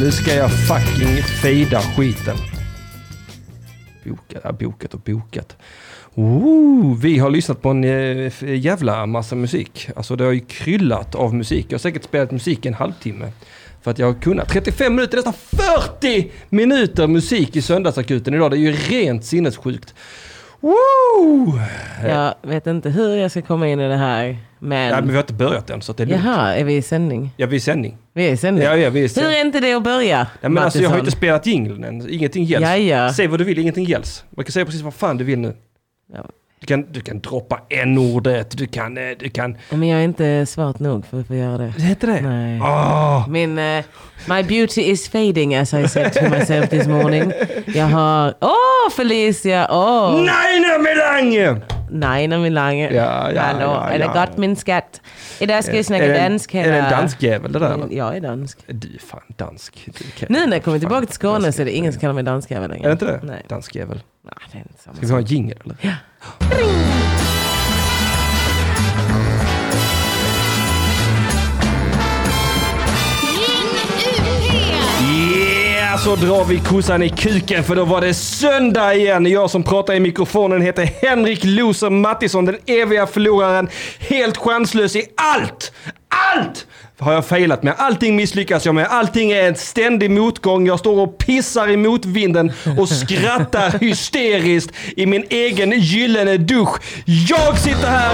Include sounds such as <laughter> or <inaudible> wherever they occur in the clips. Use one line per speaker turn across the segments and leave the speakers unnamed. Nu ska jag fucking fejda skiten. Bokat, ja, bokat och bokat. Ooh, vi har lyssnat på en eh, f- jävla massa musik. Alltså det har ju kryllat av musik. Jag har säkert spelat musik en halvtimme. För att jag har kunnat. 35 minuter, nästan 40 minuter musik i söndagsakuten idag. Det är ju rent sinnessjukt. Woo!
Jag vet inte hur jag ska komma in i det här.
Nej, men
Men...
vi har inte börjat än så att det är lugnt.
Jaha, är vi i sändning?
Ja, vi är i sändning.
Vi är i sändning.
Ja, ja, vi är i sändning.
Hur är inte det att börja?
Nej, men alltså, jag har ju
Mattisson?
inte spelat jingeln än. Ingenting gälls.
Ja, ja.
Säg vad du vill, ingenting gälls. Man kan säga precis vad fan du vill nu.
Ja.
Du kan, du kan droppa n-ordet, du kan... eh, Du kan...
Men jag är inte svart nog för att få göra det.
Det heter det?
Nej.
Åh!
Min, eh, my beauty is fading as I said to myself this morning. Jag har, åh Felicia, åh! Oh.
Nej, nej, men Lange!
Nina Milange.
Ja, ja,
Hallå,
ja,
är det
ja.
gott min skatt? Idag ska vi snacka
Är det en-
dansk.
Är det en danskjävel det där? eller?
Jag är dansk.
Du är fan dansk. Du kan-
Nu när jag kommer tillbaka till
Fan,
Skåne
dansk-
så är det ingen som kallar mig dansk även längre.
Är det inte det?
Nej.
Danskjävel.
Nej, det är inte samma
Ska vi
sak.
ha en jingel eller? Ja. Yeah, så drar vi kossan i kuken för då var det söndag igen. Jag som pratar i mikrofonen heter Henrik Loser Mattisson, den eviga förloraren. Helt chanslös i allt! Allt! Har jag failat med. Allting misslyckas jag med. Allting är en ständig motgång. Jag står och pissar i motvinden och
<laughs>
skrattar hysteriskt i min egen gyllene dusch. Jag sitter här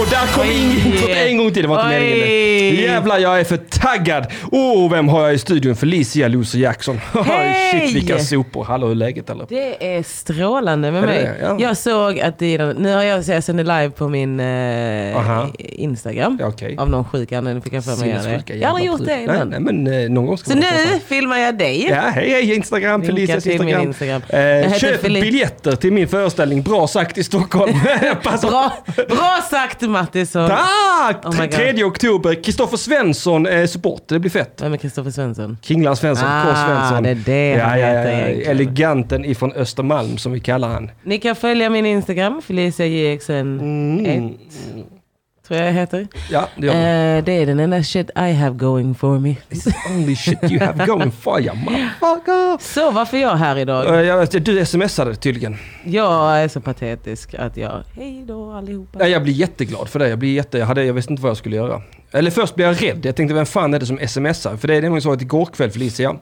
och där kom
Oj.
inget <laughs> en gång till. Det var inte
Oj.
meningen. det. Jävlar, jag är för taggad. Åh, vem har jag i studion? Felicia Loser Jackson. <laughs>
Hej!
Shit, vilka sopor. Hallå, hur är läget eller?
Det är strålande med
Är det
mig.
det? Ja.
Jag såg att det är, nu har jag, så jag sänder live på min eh,
Aha.
Instagram.
Ja, okej.
Av någon sjuk anledning fick jag för mig att göra
Sinnessjuka
det. Jag har aldrig
jävla pryl.
gjort det
Nej,
innan.
nej, men eh, någon gång ska
Så
man
nu filmar jag dig.
Ja, hej hej Instagram,
Vinkar
Felicias
till min
Instagram.
Instagram. Jag
Eh,
heter
köp
Felic-
biljetter till min föreställning Bra sagt i
<laughs>
Stockholm. <laughs> Passa
Bra, bra sagt Mattisson.
alltså. Tack!
Oh my God.
3 oktober, Kristoffer Svensson eh, support, det blir fett.
Vem är Kristoffer Svensson?
Kringlan Svensson,
Ah,
Alltså, K. Svensson.
det är det
ja,
han
ja, ja,
heter
ja.
egentligen.
Eleganten ifrån Östermalm som vi kallar han.
Ni kan följa min Instagram, Felicia Eriksson
Mm.
1. Tror jag jag heter.
Ja, det gör vi.
Eh, det är den enda shit I have going for me.
It's only shit you have going for you motherfucker.
Så varför är jag här idag?
Eh, jag- Du smsade tydligen.
Jag är så patetisk att jag, hej då allihopa.
Ja, jag blir jätteglad för det. Jag, blir jätte, jag, hade, jag visste inte vad jag skulle göra. Eller först blev jag rädd. Jag tänkte, vem fan är det som smsar? För det är nämligen så att igår kväll, Felicia,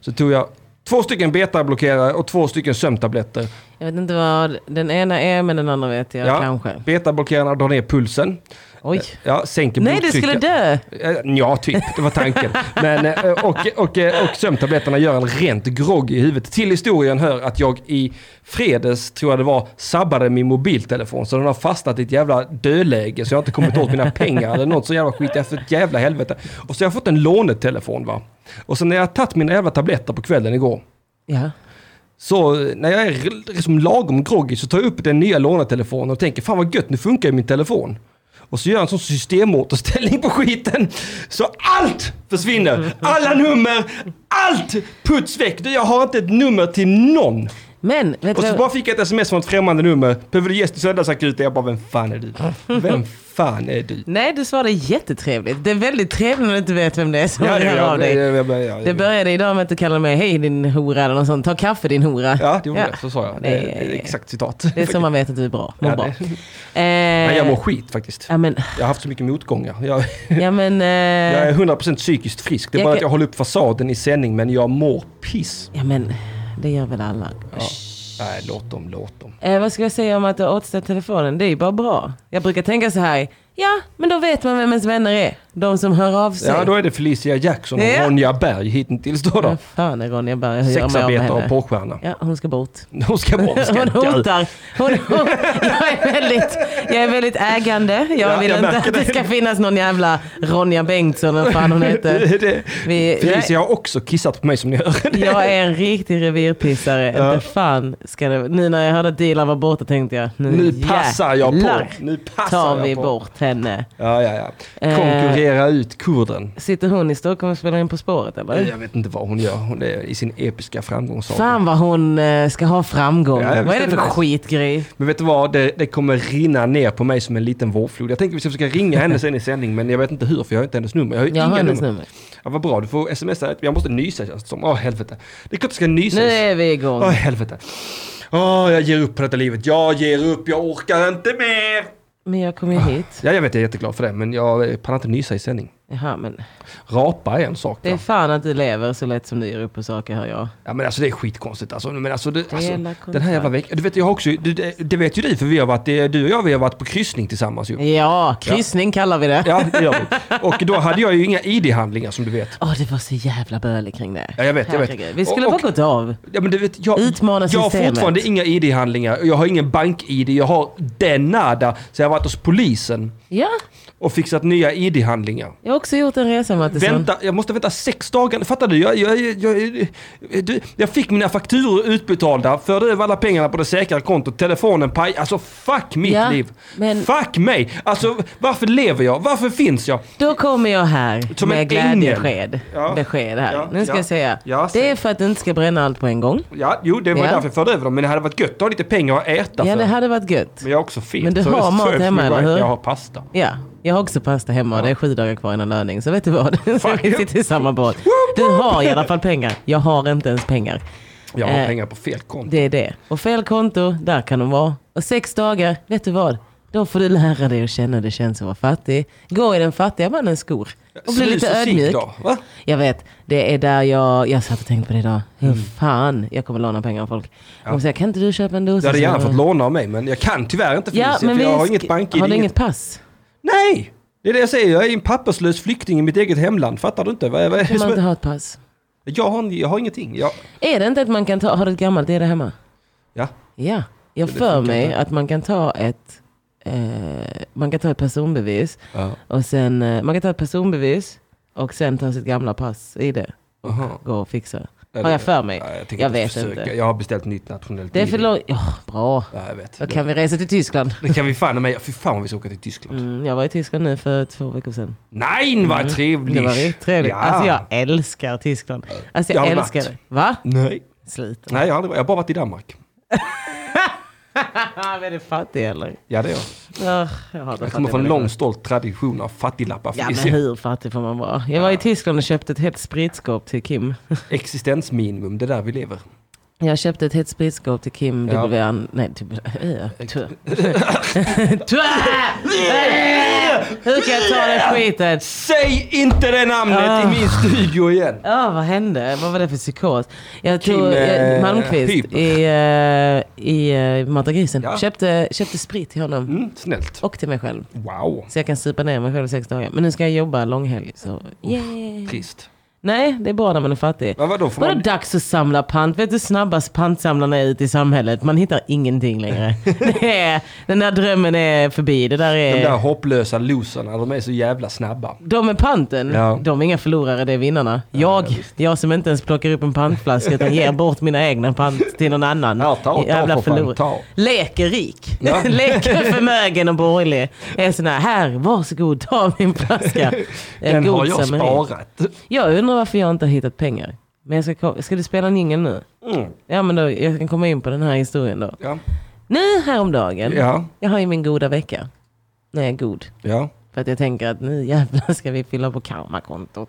så tog jag två stycken betablockerare och två stycken sömntabletter.
Jag vet inte vad den ena är men den andra vet jag
Ja.
kanske.
Betablockerarna drar ner pulsen.
Oj.
Ja, sänker
Nej du skulle
blodtrycket.
dö.
Eh, Ja, typ. Det var tanken. Men, eh, och, och, eh, och sömntabletterna gör en rent grogg i huvudet. Till historien hör att jag i fredags, tror jag det var, sabbade min mobiltelefon. Så den har fastnat i ett jävla dödläge. Så jag har inte kommit åt mina pengar eller något så jävla skit. Jag är för ett jävla helvete. Och så har jag fått en lånetelefon va. Och sen när jag har tagit mina jävla tabletter på kvällen igår.
Ja.
Så när jag är r- liksom lagom groggy så tar jag upp den nya lånatelefonen och tänker fan vad gött, nu funkar ju min telefon. Och så gör jag en sån systemåterställning på skiten. Så allt försvinner! Alla nummer, allt puts väck! Du, Jag har inte ett nummer till någon.
Men vet
Och
du
så bara fick jag ett sms från ett främmande nummer. Behöver du gäst i söndagsakuten? Jag bara, vem fan är du? Vem fan är du?
Nej du svarade jättetrevligt. Det är väldigt trevligt när du inte vet vem det är som hör av dig.
ja, ja, ja.
Det började idag med att du kallade mig hej din hora eller något sånt. Ta kaffe din hora.
Ja, det gjorde
Ja.
det. Så sa jag. Det
Nej,
är
nej, nej.
exakt citat.
Det är så man vet att du är bra. Mår
Ja,
bra.
det-
Eh,
Nej, jag mår skit faktiskt.
ja, men,
Jag har haft så mycket motgångar. Jag,
ja,
<laughs>
men,
Jag är
eh,
100% psykiskt frisk. Det är
Jag
bara
kan-
att jag håller upp fasaden i sändning men jag mår piss.
ja men det gör väl alla.
Ja. Nej, låt dem, låt dem.
Eh, vad ska jag säga om att du har återställt telefonen? Det är ju bara bra. Jag brukar tänka så här. Ja, men då vet man vem ens vänner är. De som hör av sig.
Ja, då är det Felicia Jackson och
Ja.
Ronja Berg hittills då.
Vad
då.
fan är Ronja Berg? Hur gör man av med
Sexarbetare och
henne?
porrstjärna.
Ja, hon ska bort.
Hon ska bort, ska
<laughs> Hon
dö.
hotar. Hon, hon, jag, är väldigt, jag är väldigt ägande. Jag
Ja,
vill
jag
inte
märker
att det
det.
ska finnas någon jävla Ronja Bengtsson, vad fan hon heter.
Det-
Vi, nej,
Felicia har också kissat på mig som ni hör.
jag är en riktig revirpissare. Inte fan ska det, nu när jag hörde att Dilan var borta tänkte jag, nu,
Nu passar jag på.
jävlar
Nu passar
tar
jag
vi
på.
bort henne.
Ja, ja, ja. Konkurrera ut kurden.
Eh, Sitter hon i Stockholm och spelar in På spåret eller?
Jag vet inte vad hon gör. Hon är i sin episka framgångssaga.
Fan vad hon eh, ska ha framgång.
Ja, jag
vad är det
förstår
för
det.
skitgrej?
Men vet du vad? Det, det kommer rinna ner på mig som en liten vårflod. Jag tänker vi ska försöka ringa henne sen i sändning, men jag vet inte hur för jag har inte hennes nummer. Jag har ju
Jag har
inga
hennes
nummer.
nummer.
Ja, vad bra, du får smsa. Jag måste nysa känns det som. Åh helvete. Det är klart jag ska nysa.
Nu är vi igång.
Åh helvete. Åh, jag ger upp på detta livet. Jag ger upp, jag orkar inte mer.
Men jag
Ah.
kom ju hit.
Ja, jag vet, jag är jätteglad för det, men jag eh, pallar inte nysa i sändning.
Jaha, men
Rapa är en sak.
det är
va?
fan att du lever så lätt som du ger upp på saker hör jag.
Ja men alltså det är skitkonstigt alltså. Men alltså, det, alltså
Dela
den här jävla veckan. Du vet jag har också, det, det- det vet ju du för vi har varit, det är du och jag vi har varit på kryssning tillsammans ju.
Ja, kryssning kallar vi det. Åh,
Ja det gör vi. Och då hade jag ju inga ID-handlingar som du vet.
det var så jävla bölig kring det.
Ja, jag vet, jag vet.
Herregud. Vi skulle
Och-
bara gått av.
Ja men du vet, jag,
Utmana
jag har
systemet.
fortfarande inga ID-handlingar. Jag har ingen bank-ID, jag har den nada. Så jag har varit hos polisen
Ja,
och fixat nya ID-handlingar.
jag har också gjort en resa Mattisson.
Vänta, jag måste vänta sex dagar. Fattar du? Jag, jag, jag, jag, du, jag fick mina fakturor utbetalda, förde över alla pengarna på det säkra kontot, telefonen paj. Alltså fuck mitt
Ja,
liv.
men-
Fuck mig. Alltså varför lever jag? Varför finns jag?
Då kommer jag här
Som en
med glädjebesked.
Ja.
Besked här.
Ja,
nu ska
ja.
jag säga.
Ja,
det
säg.
är för att du inte ska bränna allt på en gång.
Ja, jo det var
Ja.
därför jag förde över dem. Men det hade varit gött att ha lite pengar att äta
Ja,
för.
det hade varit gött.
Men jag är också fet.
Men du
så-
har
så-
mat
så-
hemma, eller hur?
Jag har pasta.
Ja, jag har också pasta hemma och det är sju dagar kvar innan löning. Så vet du vad? <laughs> Så
Fan,
vi
ja.
sitter i samma båt. Du har i alla fall pengar. Jag har inte ens pengar.
Jag har
Eh,
pengar på fel konto.
Det är det. Och fel konto, där kan de vara. Och sex dagar, vet du vad? Då får du lära dig att känna hur det känns att vara fattig. Gå i den fattiga mannens skor. Och bli
Snus
lite
och cigg
ödmjuk.
då, va?
Jag vet, det är där jag, jag satt och tänkte på det idag. Hur
Mm.
fan jag kommer låna pengar av folk. De säger, kan inte du köpa en dosa?
Jag hade gärna
Så-
fått låna av mig men jag kan tyvärr inte
Ja,
Felicia,
men
för
vi
jag har
sk-
inget bank-ID.
Har du
inget-
inget pass?
Nej! Det är det jag säger, jag är en papperslös flykting i mitt eget hemland. Fattar du inte? Vad, vad,
Kan man inte
som,
ha ett pass?
jag, har, jag har ingenting. Jag,
Är det inte att man kan ta, har du ett gammalt ID hemma?
ja.
Ja, jag
Det
för
funkar
mig
inte.
att man kan ta ett eh, man kan ta ett personbevis
Ja.
och sen, eh, man kan ta ett personbevis och sen ta sitt gamla pass i det och
Aha.
gå och fixa.
Ja,
Har
det-
jag för mig?
Ja,
jag
tänker
vet
försöka.
inte.
Jag har beställt nytt nationellt
Det är för
ID.
långt. Ja, bra.
Ja, jag vet.
Då kan vi resa
<laughs>
till Tyskland.
Det kan vi fan med. Fy fan vad vi ska åka till Tyskland.
Mm, jag var i Tyskland nu för två veckor sedan.
Nej, vad trevligt!
Det var riktigt trevligt.
Ja.
Alltså jag älskar Tyskland. Alltså
Jag
jag,
har varit.
älskar det. Va?
Nej.
Sliten.
Nej, jag har, aldrig, varit- jag har bara varit i Danmark.
Ah, <laughs> är du fattig eller?
Ja, det är jag.
Ah, jag hatar
Jag kommer
fattiga
från en
människor.
lång stolt tradition av fattiglappar.
Ja
Det
men
ser
hur fattig får man vara? Jag var i Tyskland och köpte ett helt spritskåp till Kim. <laughs>
Existensminimum, det är där vi lever.
Jag köpte ett helt spritskåp till Kim
Ja.
W. An- Nej, typ... <laughs> Ö, tö. Tö! Ö! Hur kan jag ta den skiten?
Säg inte det namnet
Ah.
i min studio igen!
Ja, vad hände? Vad var det för psykos? Jag
Kim,
tog eh,
eh,
Malmqvist
Hyper.
i, eh, i eh, Mata grisen.
Ja.
Köpte, köpte sprit till honom
Mm, snällt.
och till mig själv.
Wow,
Så jag kan supa ner mig själv i sex dagar. Men nu ska jag jobba långhelg. Så. Yeah.
trist.
Nej, det är bra när man är fattig.
Ja, vadå, får
Vadå
man-
dags att samla pant? Vet du snabbast pantsamlarna är ute i samhället? Man hittar ingenting
<laughs>
längre. det är, den där drömmen är förbi. Det där
De
är...
där hopplösa loserna, de är så jävla snabba.
De med panten,
Ja.
de är inga förlorare, det är vinnarna. Jag, jag som inte ens plockar upp en pantflaska utan ger bort mina egna pant till någon annan.
Ja, ta- ta för fan,
förlorare.
ta.
Leker rik. <laughs>
Ja.
Leker förmögen och borgerlig. Är sån här, här, varsågod, ta min flaska. Eh,
Den har
god
jag
samari.
sparat.
Jag undrar varför jag inte har hittat pengar. Men jag ska, ko- ska du spela en jingel nu?
Mm.
Ja men då, jag kan komma in på den här historien då.
Ja,
Nu häromdagen,
ja,
jag har ju min goda vecka. När jag är god.
ja.
För att jag tänker att nu jävlar <laughs> ska vi fylla på karmakontot.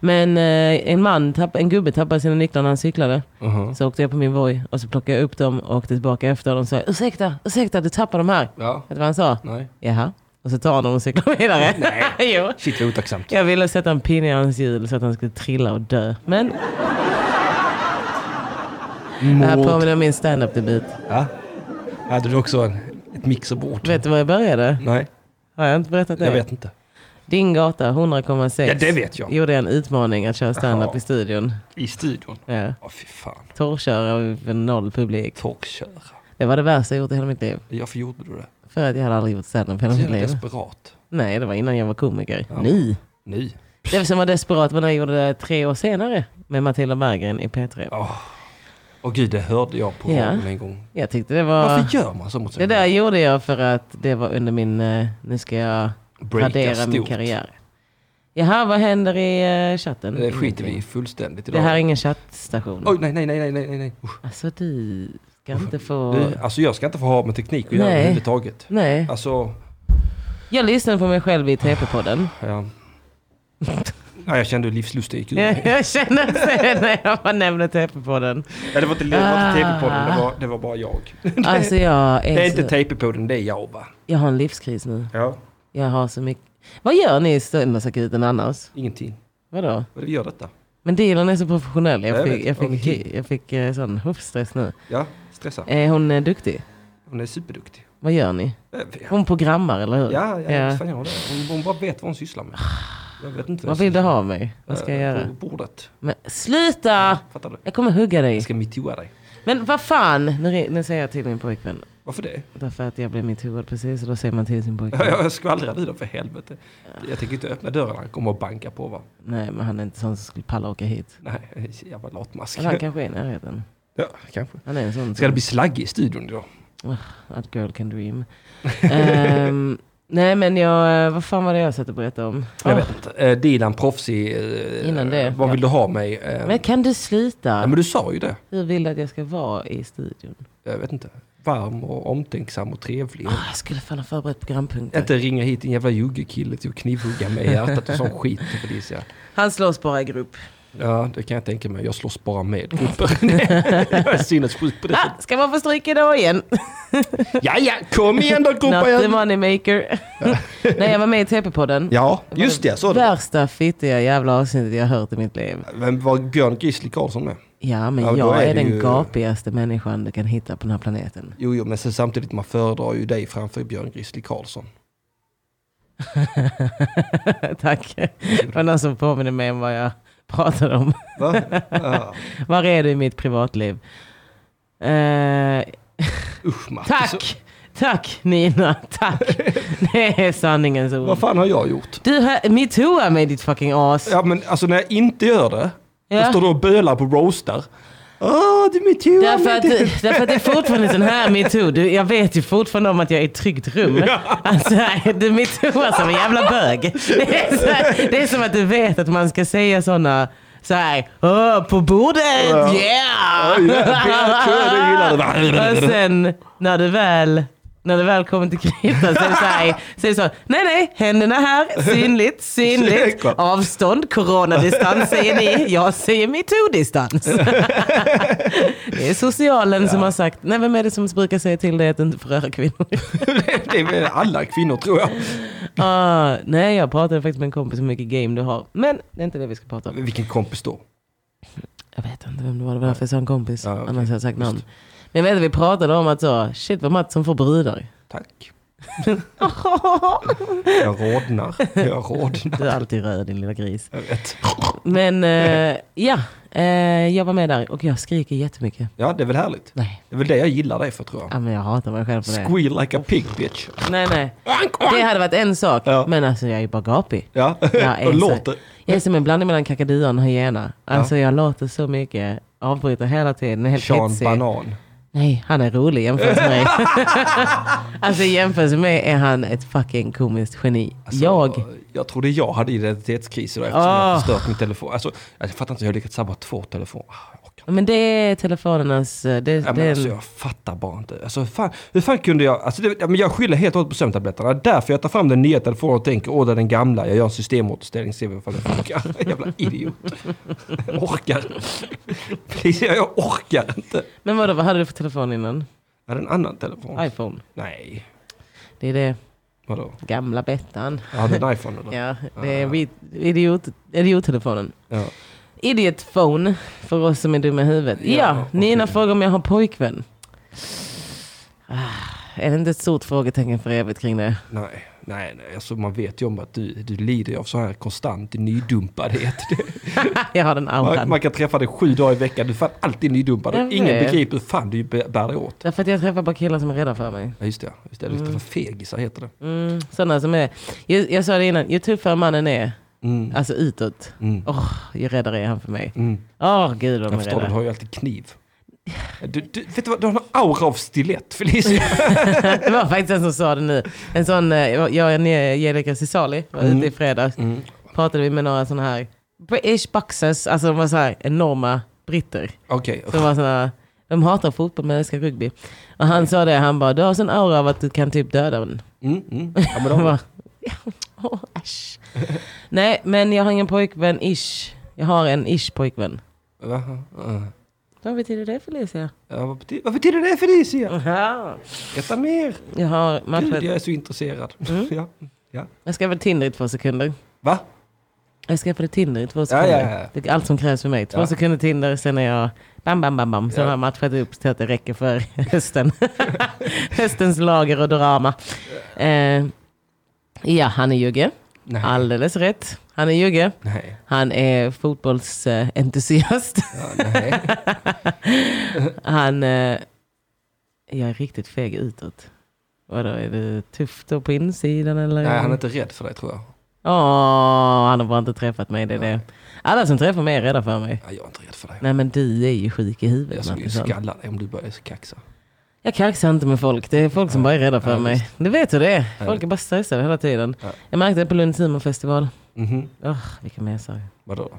Men eh, en man, tapp, en gubbe tappade sina nycklar när han cyklade.
Mhm.
Så åkte jag på min Voi och så plockade jag upp dem och åkte tillbaka efter dem och sa ursäkta, ursäkta du tappade de här. Vet
ja.
du vad han sa?
Nej.
Jaha. Och så tar han dem och cyklar vidare.
Nej.
<laughs> jo.
Shit vad otacksamt.
Jag ville sätta en pinne i hans hjul så att han skulle trilla och dö. Men det här
Mord.
påminner om min standup-debut.
Ja. Hade du också en, ett mixerbord?
Vet du var jag började?
Nej,
Har jag inte berättat det?
jag vet inte.
Din gata 100,6.
Ja, det vet jag.
Gjorde jag en utmaning att köra standup
Jaha.
i studion.
I studion?
Ja.
Ja, fy fan.
Torrköra för noll publik.
Torkköra. Det
Det var det värsta jag gjort i hela mitt liv.
Varför gjorde du det?
För att jag hade aldrig gjort standup i hela
Så
mitt
jävla
liv.
desperat.
Nej, det var innan jag var komiker. Nu.
Nu.
Det som var desperat var när jag gjorde det tre år senare med Matilda Berggren i P3.
Åh Åh, gud, det hörde jag på
Ja.
radion en gång.
Jag tyckte det var...
Varför gör man så mot sig
Det där gjorde jag för att det var under min, eh, nu ska jag
Breaka
radera min
stort.
karriär. Jaha, vad händer i eh, chatten?
Det skiter vi i
Ingenting.
fullständigt
Det
idag.
här är ingen chattstation.
Oj, nej, nej, nej, nej, nej, nej, nej. Usch.
Alltså du ska inte få...
<laughs> Du, alltså jag ska inte få ha med teknik att göra
Nej.
överhuvudtaget.
Nej.
Alltså,
Jag lyssnade på mig själv
<laughs>
i TP-podden.
ja. ja jag kände hur livslusten gick ur mig.
Jag, <laughs> jag känner det när jag bara
<laughs>
nämner TP-podden.
Ja, det var inte, det var inte
Ah.
tv-podden, det var, det var bara jag.
Alltså jag
Det är
är
inte
så...
tv-podden, det är jag va?
Jag har en livskris nu.
Ja,
Jag har så mycket... Vad gör ni i söndagsakuten annars?
ingenting.
Vadå?
Vad är det vi gör detta?
Men dealen är så professionell. Jag
Jag
fick,
vet.
jag fick,
Okej.
jag fick eh, sån hoofstress nu.
Ja, stressa.
Är hon eh, duktig?
Hon är superduktig.
Vad gör ni?
Ja,
Hon programmar, eller hur?
ja, ja. vad Fan gör hon det? Hon, hon bara vet vad hon sysslar med. Jag vet inte
Vad
jag
vill du
sysslar
ha av mig? Vad ska jag
med.
göra?
På bordet.
Men sluta!
Fattar du?
Jag kommer hugga dig.
Jag ska metooa dig.
Men vad fan! Nu, re- nu säger jag till min pojkvän.
Varför det? <laughs>
Därför att jag blev mitt huvud precis och då säger man till sin
Ja,
pojkvän.
Jag skvallrar nu då för helvete. Jag tänker inte öppna dörren, han kommer och banka på va?
Nej, men han är inte sån som skulle palla åka hit.
Nej, <laughs> jävla latmask.
Eller han kanske är i närheten.
Ja, kanske.
Han är en sån
Ska det
som...
bli slagg i studion idag?
That girl can dream. Ehm, nej, men jag... eh, Vad fan var det jag satt och berättade om?
Jag
Ah,
vet inte. Eh, Dilan, proffsig. eh,
Innan det,
Vad
ja.
vill du ha mig? Eh,
Ah, Men kan du sluta?
ja, men du sa ju det.
Hur vill du att jag ska vara i studion?
Jag vet inte. Varm och omtänksam och trevlig.
Ah, jag skulle fan ha förberett programpunkter.
Inte ringa hit en jävla juggekille till att knivhugga mig i hjärtat och sån skit. Felicia.
Han slås bara i grupp.
Ja, det kan jag tänka mig. Jag slåss bara med grupper. <laughs> jag är sinnessjuk på det
Ah, ska man få stryk idag igen?
sättet. Ja, ja, kom igen då
Not the
grupper!
moneymaker. <laughs> Nej, jag var med i TP-podden.
Ja, just det. Så det.
Värsta fittiga jävla avsnittet jag har hört i mitt liv.
Vem var Björn Gisli Karlsson med?
Ja, men
Ja, då
jag
är
är,
det
den
ju-
gapigaste människan du kan hitta på den här planeten. <laughs>
Jo, jo, men sen samtidigt man föredrar ju dig framför Björn Gisli
<laughs>
Karlsson.
Tack. Det var någon som påminner mig om vad jag pratade om.
Va? Ja.
<laughs> Var är du i mitt privatliv? Eh,
Usch Matti. Så-
tack! Tack Nina, tack.
<laughs>
Det är sanningens ord.
Vad fan har jag gjort?
Du, hör- metooa mig ditt fucking as.
Ja men alltså när jag inte gör det,
Ja.
då står du och bölar på roaster. Åh, du är metoo!
Därför att, <laughs> därför att det är fortfarande sån här metoo. Du, jag vet ju fortfarande om att jag är i ett tryggt rum. Alltså, du metooar som en jävla bög.
<laughs>
Det är, så här, det är som att du vet att man ska säga såna så här, Åh, på bordet,
Ja.
yeah!
Ja, BRK, det
<laughs>
gillar du.
Och sen när du väl när det väl kommer till kritan så är det så, här, så, är det så nej nej, händerna här,
<laughs>
synligt, synligt,
Säkert.
avstånd, coronadistans säger ni, jag
<laughs>
säger metoo-distans. Det är socialen som har sagt, nej vem är det som brukar säga till dig att du inte får
<laughs>
röra kvinnor?
<laughs> det är väl alla kvinnor tror jag.
Ah, nej, jag pratade faktiskt med en kompis hur mycket game du har. Men det är inte det vi ska prata om.
Men Vilken kompis då?
Jag vet inte vem det var, det var därför jag sa en kompis.
Ja, okej.
Annars hade jag sagt namn. Men jag vet att vi pratade om att så, shit vad Mats som får brudar. <laughs>
Tack. Jag rodnar. Jag rodnar.
Du är alltid röd din lilla gris.
Jag vet.
Men eh, ja, eh, jag var med där och jag skriker jättemycket.
Ja, det är väl härligt.
Nej,
Det är väl det jag gillar dig för tror jag.
ja, men jag hatar mig själv för det.
Squeal like a pig bitch.
Nej, nej.
Oank,
Det
oank.
hade varit en sak,
Ja.
men alltså jag är ju
<laughs>
bara gapig.
Ja,
Jag
och
är, så,
låter.
jag är som en blandning mellan kakaduan och en hyena. Alltså jag låter så mycket, avbryter hela tiden, är helt
Sean
hetsig.
Banan.
Nej, han är rolig jämfört med mig.
<laughs>
alltså jämfört med mig är han ett fucking komiskt geni.
Alltså,
jag,
Jag trodde jag hade identitetskris idag eftersom jag
Ah.
har förstört min telefon. Alltså, jag fattar inte hur jag lyckats sabba två telefoner. Ah, jag orkar
men det är telefonernas, eh, det,
Ja,
det
men
är
alltså,
en,
jag fattar bara inte. Alltså, hur fan, hur fan kunde jag... Alltså, det, ja, men jag skyller helt och hållet på sömntabletterna. Därför jag tar fram den nya telefonen och tänker åh det är den gamla. Jag gör en systemåterställning ser vi ifall den funkar. <laughs> Jävla idiot. Jag orkar. Please, jag- jag orkar inte.
men vadå, vad hade du för telefon innan?
Jag hade en annan telefon.
iPhone.
Nej.
Det är det
Vadå?
gamla Bettan.
Jag hade
<laughs>
en iPhone eller?
Ja, det är vid- idiot, idiottelefonen.
Ja.
Idiotphone för oss som är dumma i huvudet. Ja,
Ja, okej.
Nina frågar om jag har pojkvän. Ah, är det inte ett stort frågetecken för evigt kring det?
Nej. Nej, nej. Alltså, man vet ju om att du, du lider ju av så här konstant
<laughs>
nydumpadhet.
jag har den
Man,
auran.
man kan träffa dig sju dagar i veckan. Du är fan alltid nydumpad.
Jag
Ingen
vet.
begriper hur fan du bär dig åt.
Därför att jag träffar bara killar som är rädda för mig.
Ja, just det. Just det. Just det. För fegisar heter det.
Mm, sådana som är... Jag, jag sa det innan, ju tuffare mannen är,
Mm.
alltså utåt,
Mm.
åh, ju räddare är han för mig.
Mm.
Åh gud vad de
Jag
är
förstår, du
rädda. <laughs>
har ju alltid kniv. Du, du, vet du vad, du har en aura av stilett Felicia.
Det var faktiskt en som sa det nu. En sån, eh, jag och Angelica Cesali var ute i fredags.
Mm.
Pratade vi med några sådana här British boxers, alltså de var så här enorma britter.
<laughs> Okej,
Som var såna, de hatar fotboll men älskar rugby. Och han sa det, han bara, du har sån aura av att du kan typ döda den.
mm, mm. Ja, men då-
Jag bara, <laughs> åh äsch. Nej, men jag har ingen pojkvän, ish. Jag har en ish pojkvän.
Va? Ja.
Vad betyder det Felicia?
Ja, vad, betyder, vad betyder det Felicia?
Aha.
Berätta mer.
Jag har
Gud, jag
matchat.
är så intresserad.
Mm.
<laughs> Ja. Ja.
Jag ska väl Tinder i två sekunder.
Va?
Jag skaffade Tinder i två
Ja, ja,
sekunder.
ja.
Det är allt som krävs för mig. Två
Ja.
sekunder Tinder, sen är jag bam, bam, bam, bam. Sen
Ja.
har jag matchat upp till att det räcker för <laughs> hösten. Höstens lager och drama. Eh, ja, han är jugge.
Nej.
Alldeles rätt. Han är jugge.
Nej.
Han är fotbollsentusiast. <laughs>
Ja, nej.
Han... Eh, jag är riktigt feg utåt. Vadå, är det tufft då på insidan eller?
nej, han är inte rädd för det tror jag.
Åh, han har bara inte träffat mig. Det är det. Alla som träffar mig är rädda för mig.
Nej, jag är inte rädd för det.
Nej men du är ju sjuk i huvudet
Jag skulle ju
Mattisson.
skalla dig om du började kaxa.
Jag kaxar inte med folk. Det är folk som bara är rädda för
Ja,
mig.
visst.
Du vet hur det är.
Ja, visst.
Folk är bara stressade hela tiden.
Ja.
Jag märkte det på Lunds humorfestival.
Mhm.
Åh, vilka mesar.
Vadå då?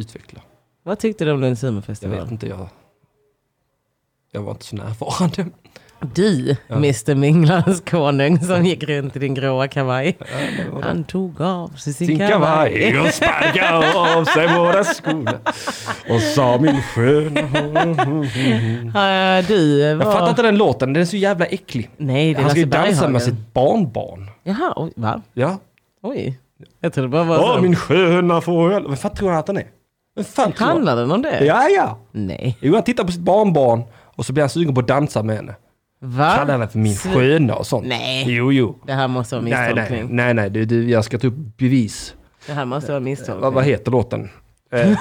Utveckla.
Vad tyckte du om Lunds
Jag vet
humorfestival?
inte, jag... Jag var inte så närvarande.
Du,
Ja.
Mr Minglands konung som gick runt i din gråa kavaj. Han tog av sig sin,
Sin kavaj och sparkade av sig våra skor. Och sa min sköna...
Ja, du var...
Jag fattar inte den låten, den är så jävla äcklig.
Nej, det är
Han ska
Lasse
ju dansa med
Berghagen.
sitt barnbarn.
Jaha, oj, va?
Ja.
Oj. Jag trodde bara var
Åh,
så.
min sköna fågel. Vem fan tror han att han är? Vem fan tror han?
<laughs> Handlar den om det?
Ja, ja.
Nej.
Jo, han tittar på sitt barnbarn och så blir han sugen på att dansa med henne.
Va?
Kallar henne för min
Sv-
sköna och sånt.
Nej.
Jo, jo.
Det här måste vara
Nej,
misstolkning.
nej, nej, nej, du, du, jag ska ta upp bevis.
Det här måste vara
Vad, vad
misstolkning.
heter låten? Eh,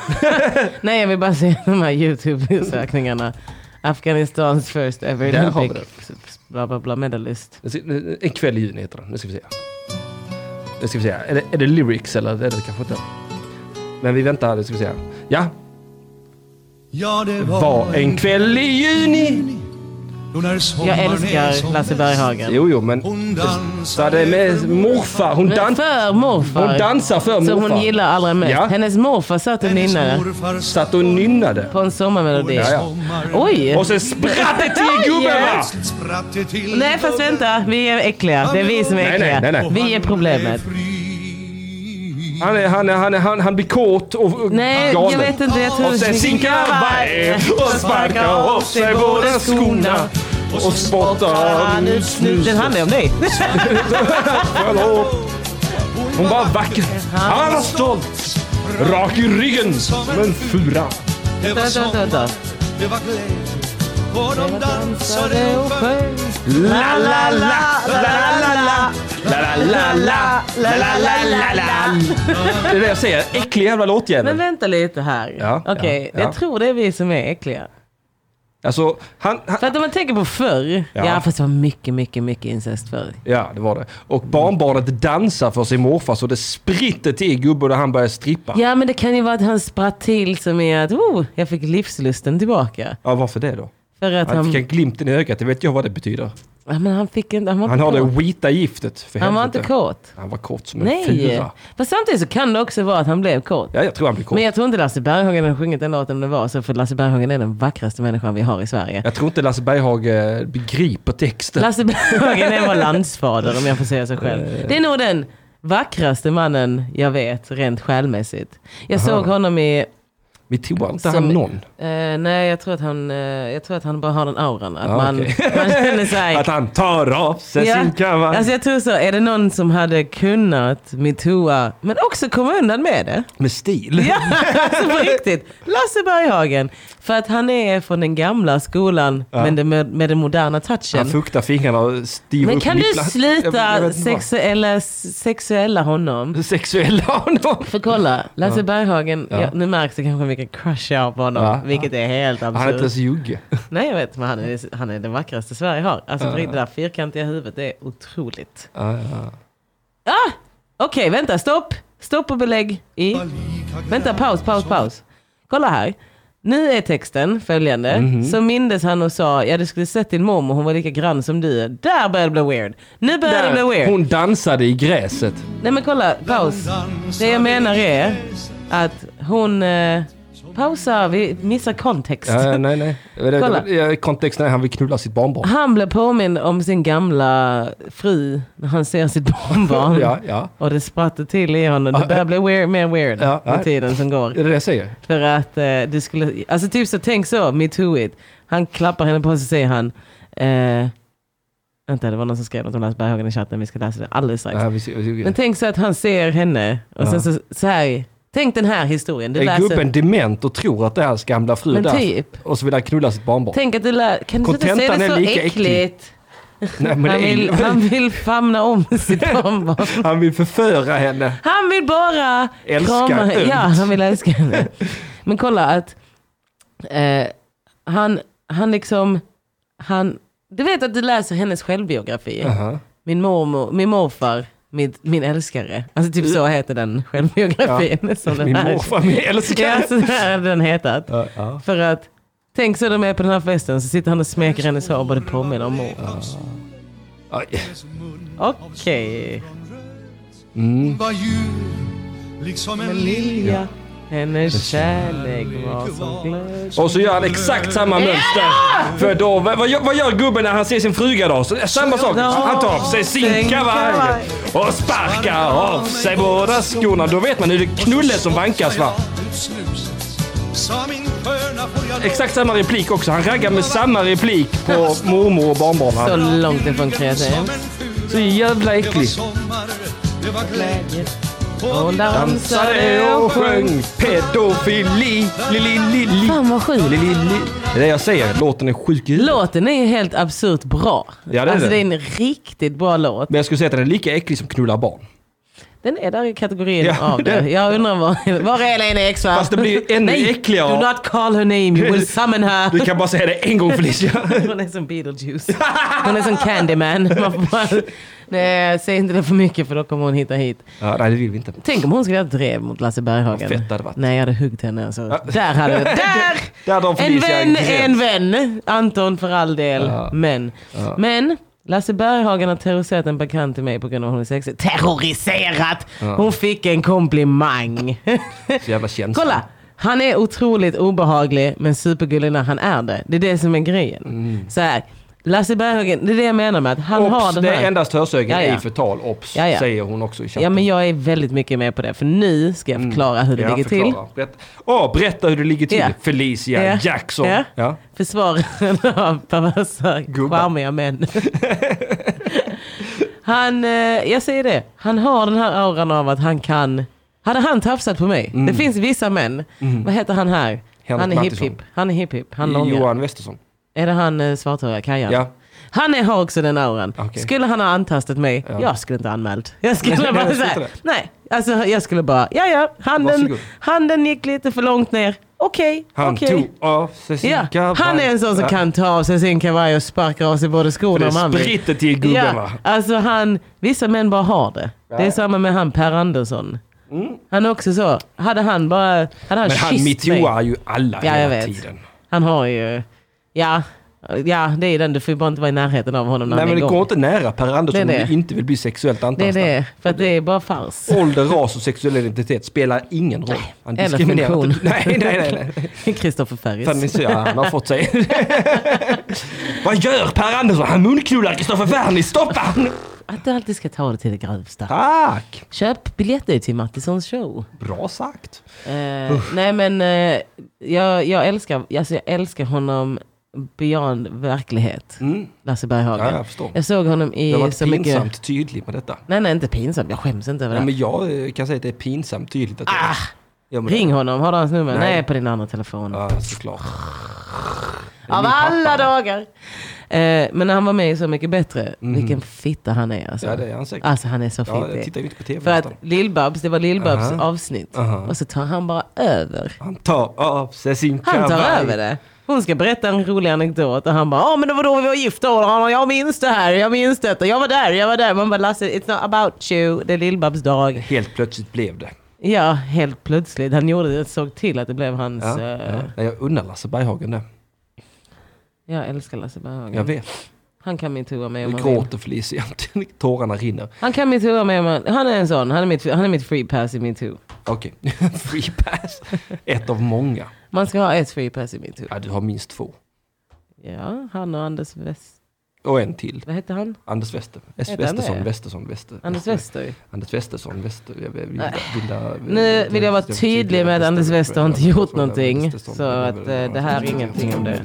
Nej, jag vill bara se de här YouTube-sökningarna. Afghanistans first ever
Där har vi
Olympic bla, bla, bla, medalist.
nu ska- nu- en kväll i juni heter den. Nu ska vi se. Nu ska vi se. Är det, är det lyrics eller är det kanske inte? Men vi väntar. Nu ska vi se. Ja,
Ja, det var,
var en kväll i juni.
då när sommaren
Jag
är som
älskar Lasse
bäst.
Berghagen.
Jo, jo, men
Hon
det
dansade
med morfar. Hon,
Men
dan
för
hon
morfar.
dansar för
Som
morfar.
hon gillar allra mest.
Ja.
Hennes morfar satt och nynnade
morfar
Satt och nynnade.
på en sommarmelodi.
Ja, ja.
sommar.
Oj!
Och sen spratt det till gubben va!
Plötsligt spratt det till.
Nej fast vänta, vi är äckliga. Det är vi som är
Nej, nej,
äckliga.
nej, nej.
Vi är problemet.
Fri.
Han, är, han, är, han, är, han, han blir kåt och och
Nej,
galen.
jag vet inte. Jag tror
Och sen sin kavaj och sparka av sig båda skorna och spottar ut
Den <laughs>
snusen.
handlar ju om dig.
Förlåt. Hon bara vacker. Han var stolt. Rak i ryggen som en fura.
Det var
Vänta, vänta,
sommar,
vänta.
det var glädje. Och de dansade och sjöng.
La la la la la la la la la la la la la la la. Det är det jag säger. Äcklig jävla
Men
låtjävel.
vänta lite här.
Ja,
Okej,
ja, ja.
jag tror det är vi som är äckliga.
Alltså, han... han
För att om man tänker på förr.
Ja.
Ja, fast det var mycket, mycket, mycket incest förr.
ja, det var det. Och barnbarnet dansar för sin morfar så det spritter till gubben och han börjar strippa.
Ja men det kan ju vara att han spratt till som är att oh, jag fick livslusten tillbaka.
Ja, varför det då?
För att
Han
han,
fick en glimten i ögat, det vet jag vad det betyder.
ja, men han fick inte, han var
Han har
inte
det
kåt.
vita giftet, för
Han var
helvete.
inte kåt.
Han var kort som en
Nej.
fura.
Fast samtidigt så kan det också vara att han blev kåt.
Ja, jag tror han blir kort.
Men
jag...
jag tror inte Lasse Berghagen har sjungit den låten om det var så, för Lasse Berghagen är den vackraste människan vi har i Sverige.
tror inte Lasse Berghage begriper texten.
Lasse
<laughs>
Berghagen är vår landsfader om jag får säga så
Eh.
själv. Det är nog den vackraste mannen jag vet rent själmässigt. Jag såg honom i...
Vi tror inte
som-
han någon.
eh, nej, jag tror, att han, eh, jag tror att han bara har den auran. Att
Ja,
man,
Ah, okej.
<laughs> man känner sig...
Att han tar av sig sin kavaj.
alltså jag tror så, är det någon som hade kunnat metoo men också komma undan med det?
Med stil.
Ja, alltså på riktigt. Lasse Berghagen. För att han är från den gamla skolan men det med, med den moderna
Han
touchen.
fuktar fingrarna och stiver
Men
upp
kan du
nipplar. Jag- jag
sluta
vet inte vad.
sexuella, sexuella honom?
Sexuella honom.
För kolla, Lasse Berghagen,
Ja.
ja. nu märks det kanske vilken crush jag har på honom,
Ja.
vilket är helt
Han är
absurt.
inte ens jugge.
Nej jag vet, men han är, han är den vackraste Sverige har. Alltså för det där fyrkantiga huvudet, det är otroligt.
Ja, ja.
Ah, Okej, vänta, stopp! Stopp och belägg i... Vänta, paus, paus, paus. Kolla här. Nu är texten följande.
Mhm.
Så mindes han och sa, ja du skulle sett din mormor, hon var lika grann som du är." Där börjar det bli weird. Nu börjar det bli weird.
Hon dansade i gräset.
Nej men kolla, paus. Det jag menar är att hon... Eh, pausar, vi missar kontext.
Ja, nej, nej. Det-
Kolla.
ja, Kontexten är han vill knulla sitt barnbarn.
Han blev påmind om sin gamla fru när han ser sitt
<laughs>
barnbarn.
Ja, ja.
Och det sprattade till i honom. Det börjar bli weird, mer weird
Ja, ja.
med tiden som går.
Är det det jag säger?
För att eh, du skulle, alltså typ så tänk så, metooigt. Han klappar henne på sig och säger han, eh, vänta det var någon som skrev något om Lars Berghagen i chatten, vi ska läsa det alldeles strax.
Ja, vi ser- vi ser-
Men tänk så att han ser henne och sen så, så här, tänk den här historien. Du
Är
läser,
gubben dement och tror att det är hans gamla fru
Men
där?
typ.
Och så vill han knulla sitt barnbarn.
tänk att du lä- kan du inte säga
Kontentan
det
är
så
lika
äckligt?
äcklig. Nej, men
Han,
det är-
vill, han vill famna om
<laughs>
sitt barnbarn.
han vill förföra henne.
Han vill bara
Älska
krama
ömt.
Ja, han vill älska henne. Men kolla att eh, han, han liksom, han, du vet att du läser hennes självbiografi.
Aha.
Min mormor, min morfar, min, min älskare. Alltså typ så heter den självbiografin. Som den
Min
här-
morfar, min älskare.
Ja, så där hade den hetat.
Ja, ja.
För att, tänk så de är på den här festen, så sitter han och smeker hennes hår och bara det påminner om morfar.
Aj.
Okej.
Mm.
var djur, liksom en lilja.
Lilja, hennes kärlek var som glöd.
Och så gör han exakt samma mönster. För då, vad, vad gör- vad gör gubben när han ser sin fruga då? Så, samma sak. Han tar av sig sin
Sin
kavaj
kavaj.
och sparkar av sig båda skorna. Då vet man, nu är det knulle som vankas va?
Som en sköna får jag
Exakt samma replik också. Han raggar med samma replik på mormor och barnbarn.
Så
va?
långt ifrån kreativ.
Som en ful,
Så jävla
det var
äcklig.
sommar, det var glädje.
Hon
Dansade och sjöng pedofili. Li, li, li, li.
Fan vad
Li,
sjukt.
li, li. Det är det jag säger. Låten är sjuk i huvudet.
Låten är ju helt absurt bra.
det är
alltså
den.
det är en riktigt bra låt.
Men jag skulle säga att den är lika äcklig som knulla barn.
Den är där i kategorin
Ja,
av
det-
det. Jag undrar var, var är Lena Eksvärd?
Fast det blir ju ännu
Nej,
äckligare.
Do not call her name, you will summon
Du
her.
kan bara säga det en gång <laughs> Felicia.
Hon är som Beetlejuice. Hon är som Candyman. Man får bara... Nej, säg inte det för mycket för då kommer hon hitta hit.
Ja, nej, det vill vi inte.
Tänk om hon skulle ha drev mot Lasse Berghagen.
Vad fett det hade varit.
Nej, jag hade huggit henne. Alltså. Där hade jag... Där!
Där drar
En
Felicia
vän
gräns.
är en vän. Anton för all del. Men. Men. Lasse Berghagen har terroriserat en bekant till mig på grund av att hon är sexig. Terroriserat! Hon fick
<laughs>
en komplimang.
Så jävla känslig.
Kolla! Han är otroligt obehaglig men supergullig när han är det. Det är det som är grejen. Så här. Lasse Berghagen, det är det jag menar med att han har
Mm. Ops,
den
det
här...
är endast hörsögen
Ja, ja.
i förtal. Ops,
Ja, ja.
säger hon också i chatten.
Ja men jag är väldigt mycket med på det. För nu ska jag förklara hur det
Mm. Ja,
ligger till.
förklara. Berätta. Åh, berätta hur det ligger till.
Ja.
Felicia
Ja.
Jackson.
Ja.
Ja.
försvararen <laughs> av perversa,
Gubbar.
charmiga män. <laughs> han, eh, jag säger det, han har den här auran av att han kan. Hade han tafsat på mig, det finns vissa män. Vad heter han här?
Mm. Henrik
han är
Mattisson.
hipp-hipp. Han är hipp-hipp. Han långa.
Johan Westersson.
Är det han eh, svarthåriga, Kajan?
Ja.
Han är, har också den auran.
Okej.
Skulle han ha antastat mig, jag skulle inte ha anmält. Jag skulle bara
<laughs> jag skulle
säga,
inte
nej. Alltså jag skulle bara, ja ja, handen,
Varsågod.
handen gick lite för långt ner. Okej,
Han
okej.
tog av sig sin
Ja,
kavaj.
han är en sån som
Ja.
kan ta av sig sin kavaj och sparka av sig både skorna
Det
om han vill.
spritter till gubben
Ja,
va?
alltså han, vissa män bara har det. Det är
Ja.
samma med han Per Andersson. Han är också så, hade han bara, hade han
Mm. Men han
kysst mig.
metooar ju alla
Ja, jag
hela
vet.
tiden.
Han har ju, ja, ja det är den, du får ju bara inte vara i närheten av honom när
Nej
han
men
är
det går
igång.
inte nära Per Andersson
Det är
om
det.
du inte vill bli sexuellt
Det är
antastad.
det, för att det är
<laughs>
bara fars.
Ålder, ras och sexuell identitet spelar ingen roll. Han
eller
diskriminerar inte.
funktion.
Nej, nej, nej. nej.
Kristoffer
Fan, ni
Ferris.
ser, ja, han har fått sig. <laughs> Vad gör Per Andersson? Han munknullar Kristoffer Werner. Stoppa han!
Att du alltid ska ta det till det grövsta.
Tack!
Köp biljetter till Mattissons show.
Bra sagt.
Eh, nej men eh, jag, jag, älskar, alltså, jag älskar honom beyond verklighet. Lasse Berghagen.
Mm. Ja, jag förstår.
såg honom i
Jag har varit
så
pinsamt
mycket...
tydlig med detta.
Nej nej inte pinsamt, jag skäms inte över
Ja,
det.
men jag eh, kan säga att det är pinsamt tydligt att jag...
Ah,
Ja, men-
ring honom, har du hans nummer?
Nej.
Nej, på din andra telefon.
Ja, såklart.
Av
min pappa.
alla dagar! Eh, men när han var med i Så mycket bättre, vilken fitta han är alltså.
Mm. Ja, det är han säkert.
Alltså han är så
Ja, jag
fittig.
tittar ju inte på tv
För att
nästan.
Lill-Babs, det var Lill-Babs
Aha.
avsnitt.
Aha.
Och så tar han bara över.
Han tar av sig sin
Han tar
kavaj.
över det. Hon ska berätta en rolig anekdot och han bara ja men det var då vi var gifta och han bara, jag minns det här, jag minns detta, jag var där, jag var där. Man bara Lasse, it's not about you, det är lill dag.
Helt plötsligt blev det.
Ja, helt plötsligt. Han gjorde det, såg till att det blev hans...
Ja,
eh,
ja. Nej, Jag undrar Lasse Berghagen det.
Jag älskar Lasse
Jag
Berghagen.
vet.
Han kan min tua med om
Jag
han vill.
gråter Felicia. Tårarna rinner.
Han kan min tua med om han... Han är en sån. Han är mitt, han är mitt free pass i min tua.
Okej, free pass. Ett av många.
Man ska ha ett free pass i min tua.
Ja, du har minst två.
Ja, han och Anders West...
Och en till.
Vad hette han?
Anders Wester. S.
Heter han det?
Westersson, Westersson, Wester.
Anders Wester ju.
Anders Westersson, Wester. Jag vill, vill,
Nu vill jag vara tydlig med att Anders Wester har inte gjort någonting. Så att eh, det här är ingenting om det.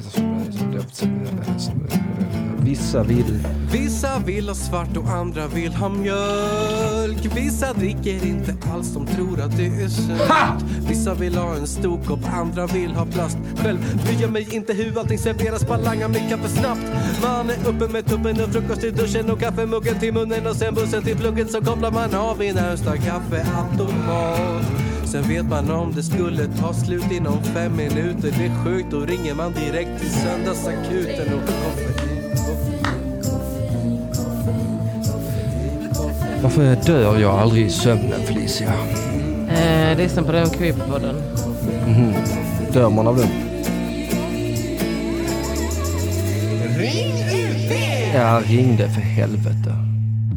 Vissa vill...
Vissa vill ha svart och andra vill ha mjölk Vissa dricker inte alls, de tror att det är sunt Vissa vill ha en stor kopp, andra vill ha plast Själv bryr jag mig inte hur allting serveras, bara langar mig kaffe snabbt Man är uppe med tuppen och frukost i duschen och kaffemuggen till munnen och sen bussen till plugget så kopplar man av i närmsta kaffeautomat Sen vet man om det skulle ta slut inom fem minuter Det är sjukt, då ringer man direkt till söndagsakuten och koffein
Varför dör jag aldrig i sömnen, Felicia?
Eh, Lyssna på den creepypodden.
Dör man av den?
Ring UP!
Ja, ring det för helvete.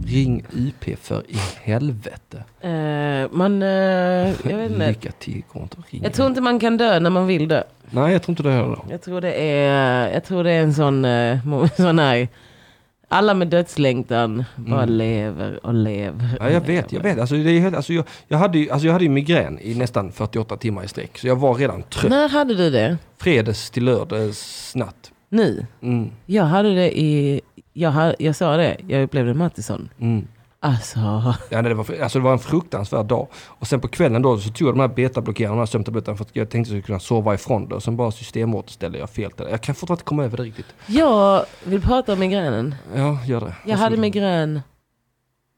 Ring UP för i helvete.
Eh, Man... eh, Jag vet inte.
Lycka till, går inte att ringa.
Jag tror inte man kan dö när man vill dö.
Nej, jag tror inte det heller.
Jag tror det är, jag tror det är en sån, eh, mo- <laughs> sån här, alla med dödslängtan bara lever och lever.
Mm. Ja, jag vet, jag vet. Alltså, det är, helt- alltså, jag, jag, hade ju, alltså, jag hade ju migrän i nästan 48 timmar i sträck. Så jag var redan trött.
När hade du det?
Fredags till lördagsnatt.
Nu?
Mm,
Jag hade det i, jag, ha, jag sa det, jag upplevde Mattisson.
mm.
Alltså, <laughs>
Ja, nej, det, var, alltså, det var en fruktansvärd dag. Och sen på kvällen då så tog jag de här betablockerarna, de här sömntabletterna för att jag tänkte att jag skulle kunna sova ifrån det. Och sen bara systemåterställde jag fel till det. Jag kan fortfarande inte komma över det riktigt.
jag vill prata om migränen.
Ja, gör det.
Jag hade migrän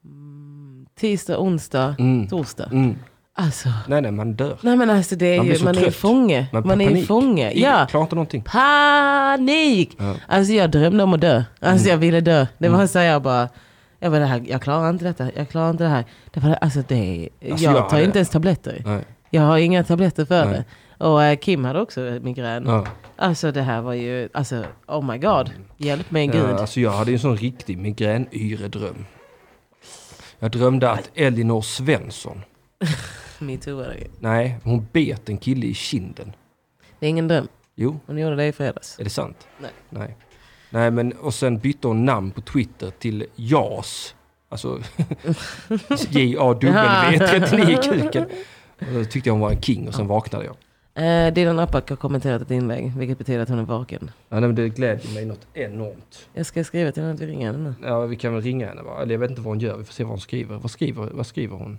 mm, tisdag, onsdag,
Mm.
torsdag.
Mm.
Alltså,
Nej, nej, man dör.
nej men alltså det är
Man blir
ju,
så
man är ju
trött.
fånge.
Man,
Man är ju
panik.
fånge.
Ingen-
Ja.
Klarar inte någonting.
panik.
Ja. Mm.
Alltså jag drömde om att dö. Alltså jag ville dö. Det var så jag bara, jag bara det här, jag klarar inte detta, jag klarar inte det här. Det var, alltså det,
Alltså,
jag,
jag
tar
hade-
inte ens tabletter.
Nej.
Jag har inga tabletter för
Nej.
det. Och eh, Kim hade också migrän.
Ja.
Alltså det här var ju, alltså oh my god. Hjälp mig gud.
Ja, alltså jag hade ju en sån riktig migränyredröm. Jag drömde att Elinor Svensson,
Metoo är det ju.
nej, hon bet en kille i kinden.
Det är ingen dröm.
Jo,
Hon gjorde det i fredags.
är det sant?
Nej.
Nej, nej men och sen bytte hon namn på Twitter till JAS. Alltså <laughs> E J-A-W-39-kuken. Och då tyckte jag hon var en king och sen vaknade jag.
Eh, Dylan Apak har kommenterat ett inlägg, vilket betyder att hon är vaken.
Ja, nej, men det glädjer mig något enormt.
Jag ska skriva till henne att vi ringer henne nu.
Ja, vi kan väl ringa henne va? Eller jag vet inte vad hon gör, vi får se vad hon skriver. Vad skriver, vad skriver hon?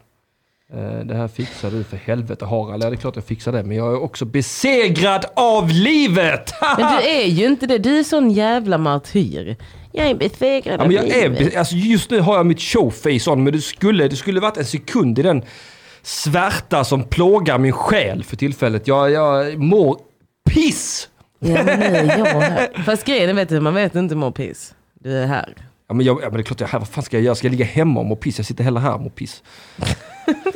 Eh, Det här fixar du för helvete Harald. Ja, det är klart jag fixar det. Men jag är också besegrad av livet!
Men
<laughs>
du är ju inte det. Du är sån jävla martyr. Jag är besegrad
Ja, men jag är, be- alltså just nu har jag mitt showface on, men det skulle, det skulle varit en sekund i den svärta som plågar min själ för tillfället. Jag, jag mår piss!
Ja, nej, jag
<laughs>
var här. Fast grejen är, vet du, man vet inte mår piss. Du är här.
Ja men, jag, ja, men det är klart, jag, vad fan ska jag göra? Ska jag ligga hemma och må piss? Jag sitter hellre här och mår piss.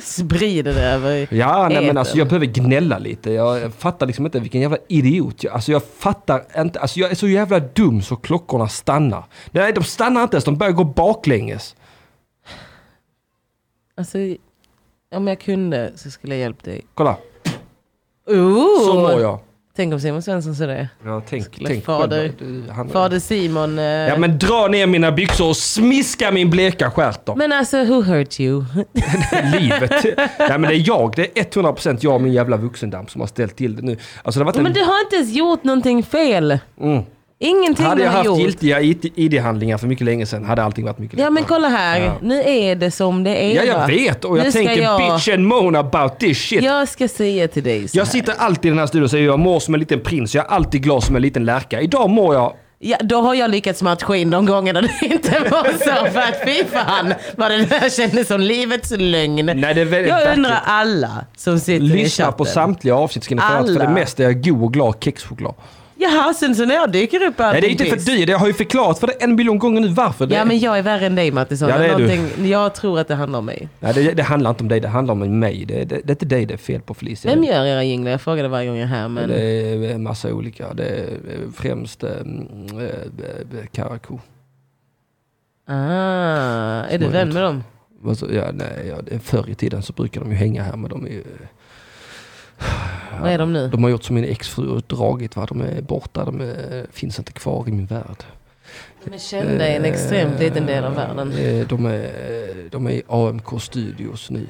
Sprider det över.
Ja, nej, men
Äter.
alltså jag behöver gnälla lite. Jag fattar liksom inte vilken jävla idiot jag Alltså jag fattar inte. Alltså jag är så jävla dum så klockorna stannar. Nej, de stannar inte ens. De börjar gå baklänges.
Alltså, om jag kunde så skulle jag hjälpt dig.
Kolla,
Ooh.
så mår jag.
Tänk om Simon Svensson sa det.
Ja, tänk,
Skulle
tänk
fader-
själv. Han-
Fader Simon. eh,
Ja
men...
men dra ner mina byxor och smiska min bleka stjärt då.
alltså, who hurt you?
<laughs> Mm. Livet. Nej men det är jag. Det är 100% jag och min jävla vuxendam som har ställt till det nu. Alltså det har varit
Men
en...
du har inte ens gjort någonting fel.
Mm.
Ingenting
Hade
du
jag
har
haft
gjort.
giltiga IT ID-handlingar för mycket länge sedan hade allting varit mycket
Ja men kolla här.
Ja.
Nu är det som det är.
Ja,
va?
jag vet och jag
Nu ska
tänker
jag-
bitch and moan about this shit.
Jag ska säga till dig så
jag
här.
sitter alltid i den här studion och säger jag mår som en liten prins, jag är alltid glad som en liten lärka. Idag mår jag...
Ja, då har jag lyckats matcha in de gångerna det inte var så. För att fy fan vad det där kändes som livets lögn.
Nej, det är väldigt
jag undrar
verkligt.
alla som sitter i
Lyssna
chatten.
på samtliga avsnitt ska ni få höra att för
Alla.
det mesta är jag god och glad kexchoklad.
Jaha, sen så när jag dyker upp
Nej, det är inte för dyrt. Jag har ju förklarat för dig en miljon gånger nu varför. Det,
Ja men jag är värre än dig Mattisson.
Ja, det är du.
Någonting- Jag tror att det handlar om mig.
Nej, det, det handlar inte om dig, det handlar om mig. Det, det, det är inte dig det är fel på Felicia.
Vem gör era jinglar? Jag frågar det varje gång jag är här men...
Det är en massa olika. Det är främst eh, mm, eh, eh, Karakou.
Ah, är du vän med dem?
Vad så- Ja, nej, ja, det- förr i tiden så brukade de ju hänga här men de är ju...
Vad är de nu?
De har gjort som min exfru och dragit va. De är borta, de eh, finns inte kvar i min värld.
De är kända i en extremt liten del av världen.
Eh, De är, de är i AMK Studios nu.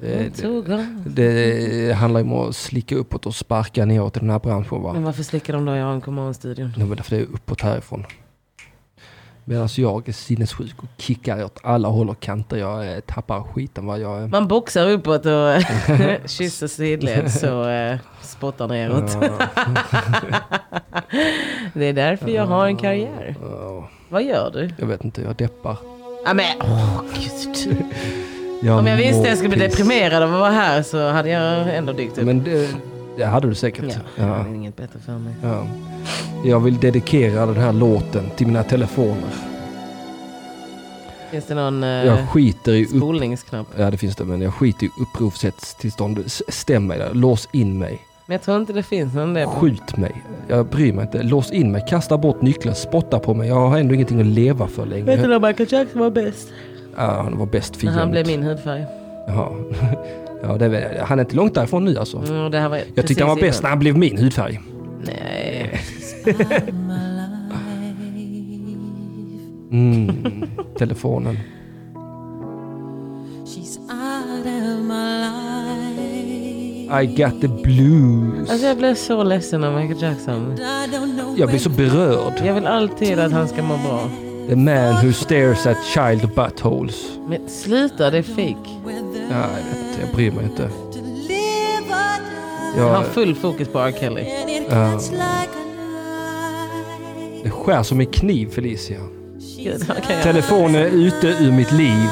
Det, det,
Tog de?
det handlar ju om att slicka uppåt och sparka neråt i den här branschen va.
Men varför slickar de då i AMK Morgonstudion?
Nej, men därför det är uppåt härifrån. Medan jag är sinnessjuk och kickar åt alla håll och kanter. Jag eh, tappar skiten. Va? Jag, eh,
Man boxar
<laughs>
uppåt och kysser sidled så eh, spottar neråt. <laughs> det är därför jag har en karriär.
ja,
Vad gör du?
jag vet inte, jag deppar.
Ja, men, åh, gud.
Jag
Om jag visste
mår
att jag skulle bli
piss.
deprimerad av att vara här så hade jag ändå dykt upp.
Men det, det hade du säkert.
Ja, jag
Ja.
har inget bättre för mig.
Ja. Jag vill dedikera den här låten till mina telefoner.
Finns det någon
Jag
eh,
skiter i upp...
spolningsknapp?
Ja det finns det, men jag skiter i uppropshetstillstånd. S- Stäm mig där, lås in mig.
Men jag tror inte det finns någon där.
Skjut mig. Jag bryr mig inte. Lås in mig, kasta bort nycklar, spotta på mig. Jag har ändå ingenting att leva för längre.
när Michael Jackson var bäst?
Ja, han var bäst för
När han
jämt.
blev min hudfärg.
Ja. <laughs> ja, det vet jag. Han är inte långt därifrån nu alltså.
Mm, och det här var
Jag tyckte han var bäst när han blev min hudfärg.
Nej. <laughs>
Mm. Telefonen.
She's out of my life.
I got the blues.
Alltså jag blev så ledsen av Michael Jackson.
I don't know
Jag blir så berörd.
Jag vill alltid att han ska må bra.
The man who stares at child buttholes.
Men sluta, det är fake.
whether
Ja, jag vet inte, jag bryr mig inte.
to live or die.
Jag har
Jag,
full fokus på R. Kelly.
And it
Ja.
cuts like a knife.
det skär som en kniv Felicia.
Gud, han kan göra
Telefonen är ute ur mitt liv.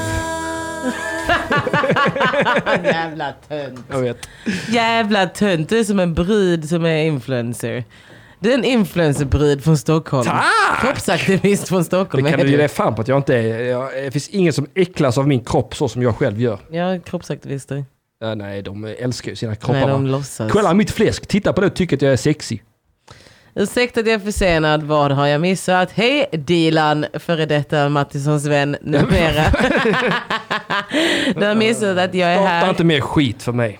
en jävla tönt.
Jag vet.
Jävla tönt. Du är som en brud som är influencer. Du är en influencerbrud från Stockholm.
Tack!
Kroppsaktivist från
Det
Stockholm.
kan
är
du ge dig fan på att jag inte är. Jag, det finns ingen som äcklas av min kropp så som jag själv gör.
Ja, kroppsaktivister.
Ja, nej, de älskar ju sina
Nej,
kroppar.
de
va?
låtsas.
Kolla mitt fläsk, titta på det och tycker att jag är sexy.
Ursäkta att jag är försenad, vad har jag missat? Hej Dilan, före detta Mattissons vän,
<laughs>
numera. du har missat att jag är
Prata inte
här.
mer skit för mig.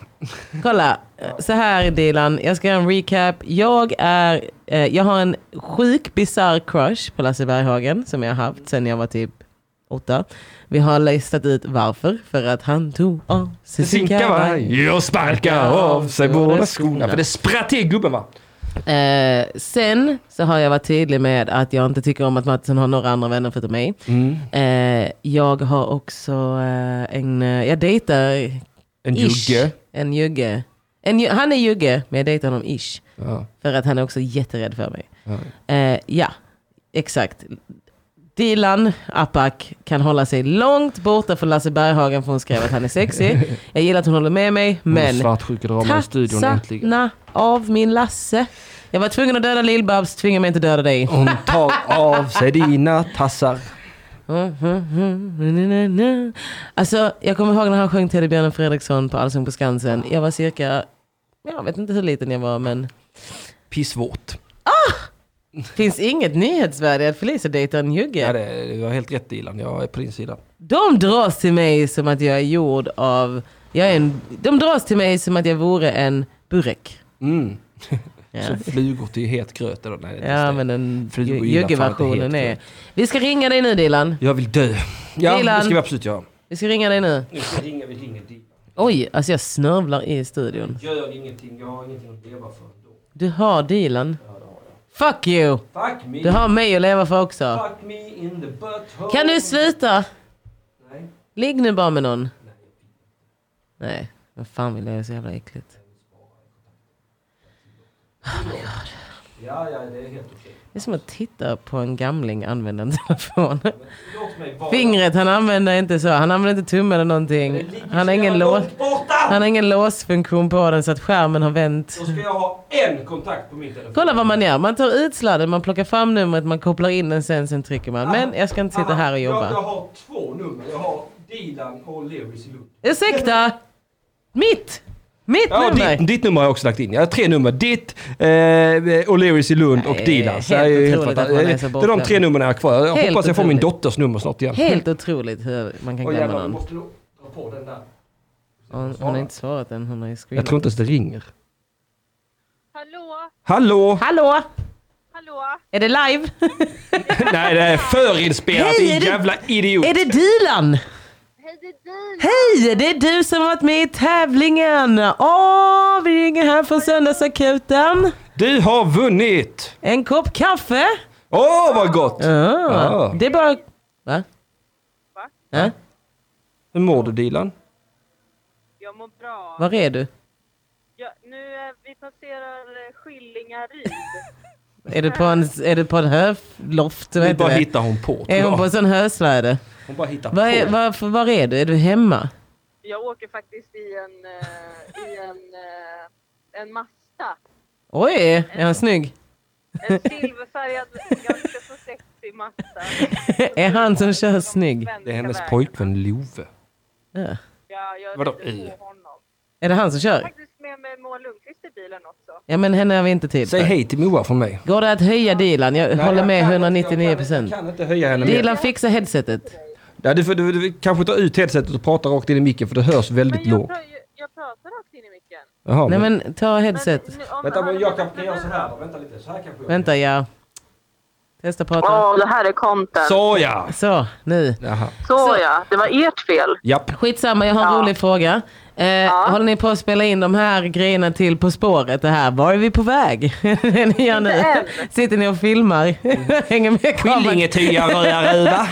Kolla, så här är Dilan, jag ska göra en recap. Jag, är, eh, jag har en sjuk bizarr crush på Lasse Berghagen som jag har haft sedan jag var typ åtta. Vi har listat ut varför, för att han tog av sig sin kavaj.
Jag sparkar av sig båda skorna. För det spratt till gubben va?
Eh, sen så har jag varit tydlig med att jag inte tycker om att Mattisson har några andra vänner förutom mig.
Mm.
Eh, jag har också eh, en, eh, jag dejtar
En
ish,
jugge.
en jugge. En, ju- han är jugge, men jag dejtar honom ish.
Ja.
För att han är också jätterädd för mig. Eh, ja, exakt. Dilan Apak kan hålla sig långt borta från Lasse Berghagen för hon skrev att han är sexig.
<laughs>
Jag gillar att hon håller med mig,
Men.
men
Svartsjukedrama i studion äntligen.
Tassarna av min Lasse. Jag var tvungen att döda Lill-Babs, tvinga mig inte döda dig.
Hon tar av sig dina tassar. Oh.
<laughs> Alltså, jag kommer ihåg när han sjöng Teddybjörnen Fredriksson på Allsång på Skansen. Jag var cirka, jag vet inte hur liten jag var, men
Pissvårt.
finns inget nyhetsvärde i att Felicia dejtar en
Ja,
jugge.
det, du har helt rätt Dilan, jag är på din sida.
De dras till mig som att jag är gjord av, jag är en, de dras till mig som att jag vore en burek.
Mm.
Ja.
Så flugor till het gröt eller nej, det är
Ja
inte
men
det.
den
Flugor gillar fan inte
juggeversionen
helt
är... Vi ska ringa dig nu Dilan.
Jag vill dö. Ja, det
Dilan.
ska vi absolut göra.
Vi ska ringa dig nu.
Nu ska ringa, vi ringer Dilan.
Oj, alltså jag snörvlar i studion.
Gör ingenting, jag har ingenting att leva för ändå.
Du har dealen. Fuck you!
Fuck me,
Du har mig att leva för också.
fuck me in the butthole.
Kan du sluta?
Nej.
Ligg nu bara med någon. Nej, men fan vill jag göra så jävla äckligt. Oh my god.
Ja, ja, det är helt okej.
Det är som att titta på en gamling använda en telefon.
Låt mig vara.
Fingret han använder inte så. Han använder inte tummen eller någonting. Han har ingen, lås, han
Borta!
har ingen låsfunktion på den så att skärmen har vänt.
Då ska jag ha en kontakt på min telefon.
Kolla vad man gör. Man tar ut sladden, man plockar fram numret, man kopplar in den sen, sen trycker man. Men jag ska inte sitta här och
Jag, jag
jobba.
har två nummer. Jag har Dilan och Lewis i Lund.
Ursäkta! Mitt! Mitt
Ja,
nummer!
ditt, ditt nummer har jag också lagt in. Jag har tre nummer. Ditt, eh, O'Learys i Lund och
Nej,
Dilans.
helt
Det är ju
otroligt att
fantastiskt.
man är så
Det är de tre
bortglömd.
numren jag har kvar. Jag
Helt
hoppas jag får min
otroligt.
dotters nummer snart igen.
Helt otroligt hur man kan
Åh,
glömma
jävlar, vi
någon.
måste nog dra på den där.
Hon, hon har inte svarat än, hon har ju
Jag tror
screenat.
inte ens det ringer.
Hallå,
Hallå! <laughs>
Hallå!
hallå.
Är det live?
Nej, det är förinspelat.
Hej,
din
är det-
jävla idiot.
Är det Dilan?
Hej, det är Dina.
Hej! Det är du som har varit med i tävlingen! Åh, vi ringer här från Söndagsakuten.
Du har vunnit!
En kopp kaffe.
Åh, vad gott!
Ja.
Ja.
Det är bara... Va? Äh?
Va?
Ja.
Hur mår du Dilan?
Jag mår bra.
Var är du?
Jag, nu, eh, vi passerar eh, Skillingaryd.
Är du på en, är du på en höloft? Vad
Nu
heter
bara
det?
hittar hon på. tror
Är hon
jag.
på en sån hösläde?
Hon bara hittar
Var är,
på.
var, var är du? Är du hemma?
Jag åker faktiskt i en, eh, i en, eh, en Mazda.
Oj, är han snygg?
En silverfärgad, ganska så sexig Mazda.
<laughs> är han som kör snygg?
Det är hennes pojkvän Love.
Ja.
Ja, jag
Vadå,
rider
i?
på honom.
Är det han som
Jag har
kör?
faktiskt med mig Moa Lundqvist i bilen också.
Ja men henne har vi inte tid
Säg
för.
hej till Moa från mig.
Går det att höja Dilan? Jag håller med 199 procent.
Jag kan inte höja henne mer.
Dilan fixa headsetet.
Ja, du, får- du, du kanske tar ut headsetet och pratar rakt in i micken för det hörs
Men
väldigt
jag,
lågt.
pra, jag, jag pratar rakt in i micken.
Jaha,
Nej
men-
men ta
Men
headset.
nu- om
Vänta,
han-
men jag kan kan göra så här då. Vänta lite. Så här kanske jag
Vänta ja. Testa prata.
Åh, det här är content.
Så ja!
Så, nu.
Jaha.
Så ja, det var ert fel.
Japp.
Skitsamma, jag har en
Ja.
rolig fråga. Eh, Håller ni på att spela in de här grejerna till På spåret? Det här, var är vi på väg? <laughs> det ni gör nu.
Inte än.
Sitter ni och filmar? <laughs> Hänger med <laughs> kameran?
Skillingetyaruva.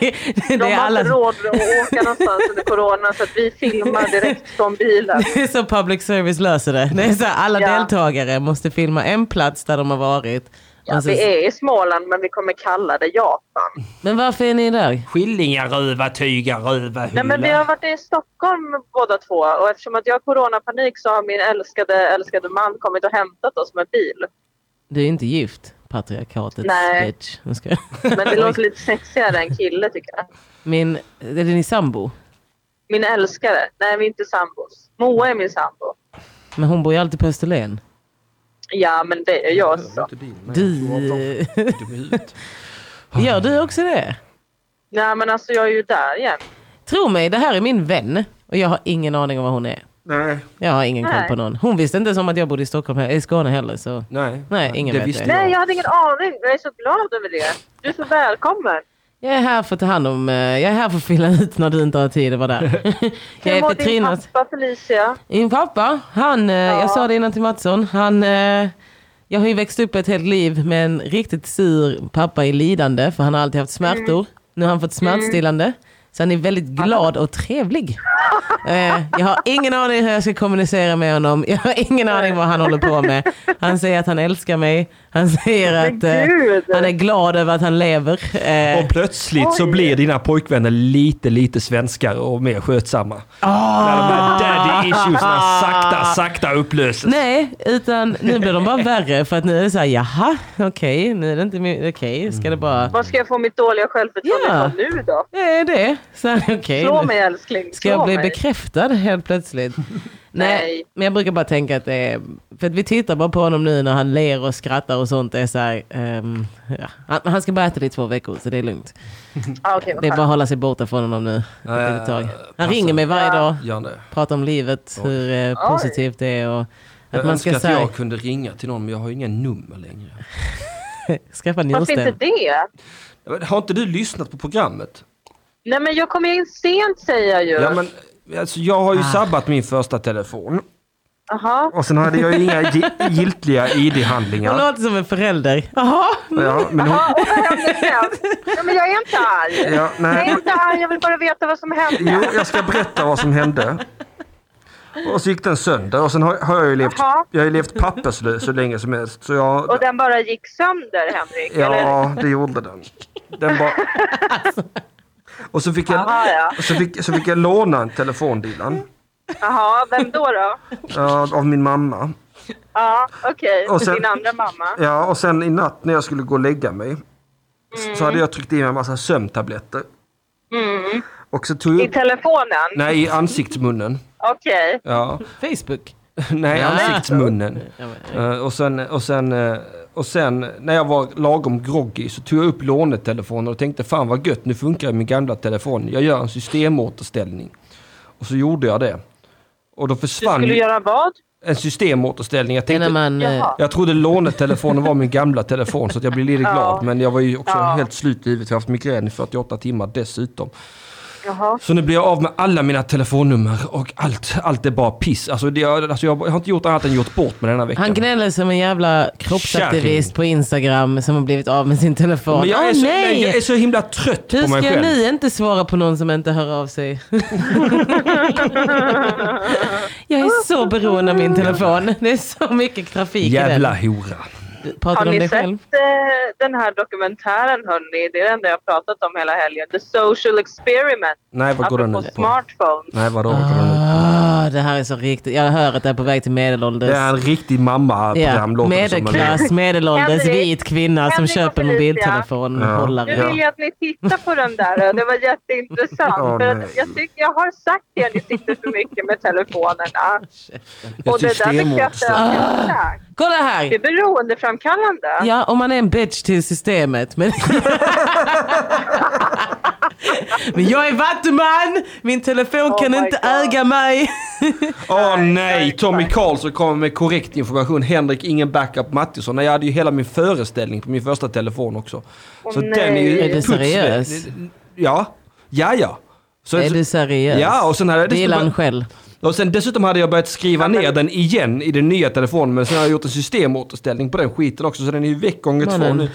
det,
De
är
har
alla,
inte råd att åka någonstans under corona så att vi filmar direkt från bilen.
<laughs> det är så public service löser det. det är så här, alla
Ja.
deltagare måste filma en plats där de har varit. Och så-
Vi är i Småland men vi kommer kalla det Japan.
Men varför är ni där?
Skillingaröva, tygaröva,
Nej, men vi har varit i Stockholm båda två och eftersom att jag har coronapanik så har min älskade, älskade man kommit och hämtat oss med bil.
Du är inte gift, patriarkatets
Nej.
bitch. Jag skojar. <laughs>
Men det låter lite sexigare än kille tycker jag.
Min, är det ni sambo?
Min älskare. Nej, vi är inte sambos. Moa är min sambo.
Men hon bor ju alltid på Österlen.
Ja, men det är jag också.
Du... <laughs> Gör du också det?
Nej, men alltså jag är ju där igen.
Tro mig, det här är min vän och jag har ingen aning om vad hon är.
Nej.
Jag har ingen koll
Nej.
på någon. Hon visste inte som att jag bodde i Stockholm, he- i Skåne heller. Så.
Nej.
Nej, ingen
det
vet
visste
det.
Nej,
jag.
jag hade ingen aning. Jag är så glad över det. Du är så välkommen.
Jag är här för att ta hand om, eh, jag är här för att fylla ut när du inte har tid att vara
<laughs>
där. jag
Hur
heter
mår din
Trina.
pappa Felicia?
Min pappa, han, eh, jag sa det innan till Mattsson, han, eh, jag har ju växt upp ett helt liv med en riktigt sur pappa i lidande för han har alltid haft smärtor.
Mm.
Nu har han fått smärtstillande. Så han är väldigt glad och trevlig. Eh, jag har ingen aning hur jag ska kommunicera med honom. Jag har ingen aning vad han håller på med. Han säger att han älskar mig. Han säger
Men
att eh,
gud!
han är glad över att han lever. Eh,
Och plötsligt så
Oj.
blir dina pojkvänner lite, lite svenskare och mer skötsamma.
Ah!
När de här daddy issuesna sakta, sakta upplöses.
Nej, utan nu blir de bara värre för att nu är det så här, jaha, okej, nu är det inte min, okej, ska det bara...
Var ska jag få mitt dåliga självförtroende
Ja.
ifrån nu då?
Det är det. Så här, <laughs> okej,
Slå
nu
mig älskling.
ska
Slå
jag bli
mig.
bekräftad helt
<laughs>
plötsligt? Nej,
Nej.
men jag brukar bara tänka att det är, för att vi tittar bara på honom nu när han ler och skrattar och sånt. Det är så här, ehm, ja. han, han ska bara äta det i två veckor så det är lugnt.
Ah, okej, vad
Det är bara
skönt.
att hålla sig borta från honom nu.
Ja,
Ett litet tag.
ja,
Han
passa.
ringer mig varje dag,
Gör det.
pratar om livet, hur eh, positivt det är och att man ska så här,
kunde ringa till någon men jag har inga nummer längre.
skaffa
Varför inte
njursten.
det?
Men Har inte du lyssnat på programmet?
Nej men jag kom in sent säger jag ju.
Ja, men, alltså, jag har ju sabbat min första telefon.
Jaha.
Och sen hade jag ju inga gi- giltiga
Hon
ID-handlingar.
låter som en förälder. <laughs> Jaha,
Ja, men hon,
Ja, och vad hände sen? Nej men jag är inte arg.
ja,
Jag
nej,
är inte arg, jag vill bara veta vad som hände.
jo, jag ska berätta vad som hände. Och så gick den sönder och sen har, har jag ju levt,
Jaha.
jag har ju levt papperslös så länge som helst. Så jag,
Och den bara gick sönder, Henrik? Eller?
Ja, det gjorde den. Den bara... Och så fick jag,
Jaha, ja.
så fick, så fick jag låna en telefon, Dilan,
Jaha, vem då? då?
eh, av min mamma.
Ja, okej.
Och sen-
Din andra mamma?
Ja, och sen i natt när jag skulle gå och lägga mig s- så
Mm.
hade jag tryckt i mig en massa sömntabletter. Och så tog jag
I
upp...
telefonen?
Nej, i ansiktsmunnen.
Okej.
<laughs> Ja.
Facebook.
Nej,
Ja.
ansiktsmunnen.
Ja, men-
Eh, och, sen, och, sen, eh, och sen när jag var lagom groggy så tog jag upp lånetelefonen och tänkte fan vad gött, nu funkar min gamla telefon. Jag gör en systemåterställning. Och så gjorde jag det. Och då försvann
Skulle du
ju
göra vad?
en systemåterställning. Jag,
Det är när
tänkte,
man... eh,
Jaha.
jag trodde lånetelefonen var min gamla telefon så att jag blev lite
Ja.
glad. Men jag var ju också
Ja.
helt slut i livet. Jag har haft migrän i 48 timmar dessutom.
Jaha.
Så nu blir jag av med alla mina telefonnummer och allt, allt är bara piss. Alltså, det, jag, alltså jag har inte gjort annat än gjort bort med denna veckan.
Han gnäller som en jävla kroppsaktivist på Instagram som har blivit av med sin telefon.
Men jag,
Åh
är så, nej,
nej!
jag är så himla trött
Hur
på mig
ska jag
själv.
nu inte svara på någon som inte hör av sig? <laughs> jag är så beroende av min telefon. Det är så mycket trafik
Jävla
i
hora.
den. Pratar
Har
du om
ni
dig
sett
själv?
eh, den här dokumentären hörni? Det är det enda jag har pratat om hela helgen. The Social Experiment.
Nej, vad går den
Apropå
ut på?
smartphones.
Nej, vadå går den ut på?
Ah, det här är så riktigt. Jag hör att det är på väg till medelålders.
Det är en riktig
Ja,
mamma-program låter det som. eller?
medelklass, medelålders,
Henrik.
vit kvinna som
Henrik och
köper
Felicia.
mobiltelefon.
Ja.
Hållare.
Nu vill jag att ni tittar på den där. Det var jätteintressant.
Åh,
för
nej.
att jag, tycker, jag har sagt det, att ni sitter för mycket med telefonerna.
<laughs> Ett
Och det där bekräftar
systemåterställning.
jag exakt.
Kolla
Det är
här!
beroendeframkallande.
Ah. Ja, om man är en bitch till systemet.
<laughs>
Men, men jag är vattuman! Min telefon
Oh
kan
my
inte
God.
äga mig.
Åh nej, Tommy Karlsson kommer med korrekt information. Henrik, ingen backup Mattisson. Nej, jag hade ju hela min föreställning på min första telefon också. Så
nej.
den är ju
Är du
puts-
seriös?
Ja, ja, ja. Så,
Är du seriös?
Ja, och sen hade jag
Vilar
dessutom-
han själv.
Och sen dessutom hade jag börjat skriva ner den igen i den nya telefonen men sen har jag gjort en systemåterställning på den skiten också så den är ju väck gånger två
Mannen.
nu.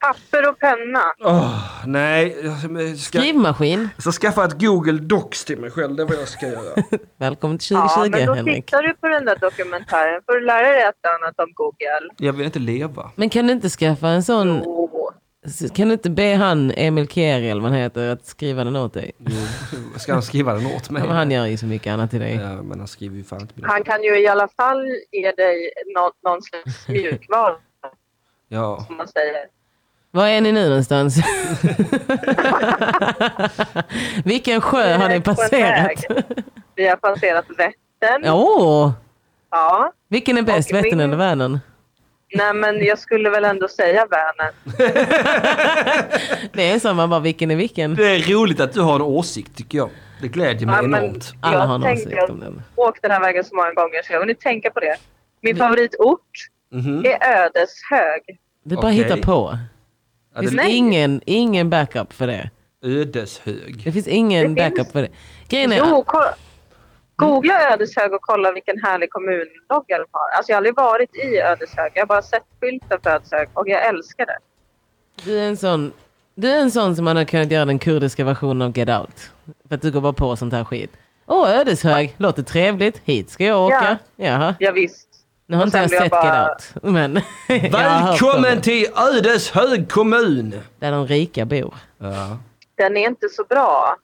Papper och penna.
Åh, nej, jag ska,
Skrivmaskin.
jag ska skaffa ett Google Docs till mig själv, det är vad jag ska göra.
Välkommen till
Ja,
2020
men då
Henrik.
tittar du på den där dokumentären för att lära dig ett annat om Google.
Jag vill inte leva.
Men kan du inte skaffa en sån,
Åh.
kan du inte be han Emil Kjeri eller vad han heter att skriva den åt dig?
Ska han skriva den åt mig?
Ja, men han gör ju så mycket annat till dig.
Ja, men han skriver ju fan inte mina...
Han kan ju i alla fall ge dig någon,
<laughs>
någon slags mjukvara,
Ja.
som man säger.
Var är ni nu
<laughs>
någonstans? Vilken sjö har ni
På en
passerat?
väg. Vi har passerat Vättern.
Åh!
Ja.
vilken är bäst,
Och min-
Vättern eller Vänern?
Nej, men jag skulle väl ändå säga Vänern.
Det är så man bara, vilken är vilken?
Det är roligt att du har en åsikt tycker jag. Det glädjer mig
Ja, men-
enormt.
Alla
Jag
har en
tänkte-
åsikt om den.
Åkt den här vägen så många gånger så jag har hunnit tänka på det. Min favoritort
Mhm.
är Ödeshög.
Du bara
Okej.
hittar på.
Ja,
Det
det
finns
Nej.
ingen, ingen backup för det.
ödeshög.
Det finns ingen
Det finns-
backup för det. Grejen är,
Jo, ko- googla Ödeshög och kolla vilken härlig kommunlogga de har. Alltså jag har aldrig varit i Ödeshög. Jag har bara sett skylten för Ödeshög och jag älskar det.
du är en sån, du är en sån som man har kunnat göra den kurdiska versionen av Get Out. För att du går bara på sånt här skit. Åh, Ödeshög, låter trevligt. Hit ska jag åka. Jaha.
Ja, visst.
Nu har
Och
inte
sen
jag
blir jag
sett
bara-
Get Out. Men <laughs> jag har hört om
Välkommen
det.
till Ödeshög kommun!
Där de rika bor.
Ja.
Den är inte så bra.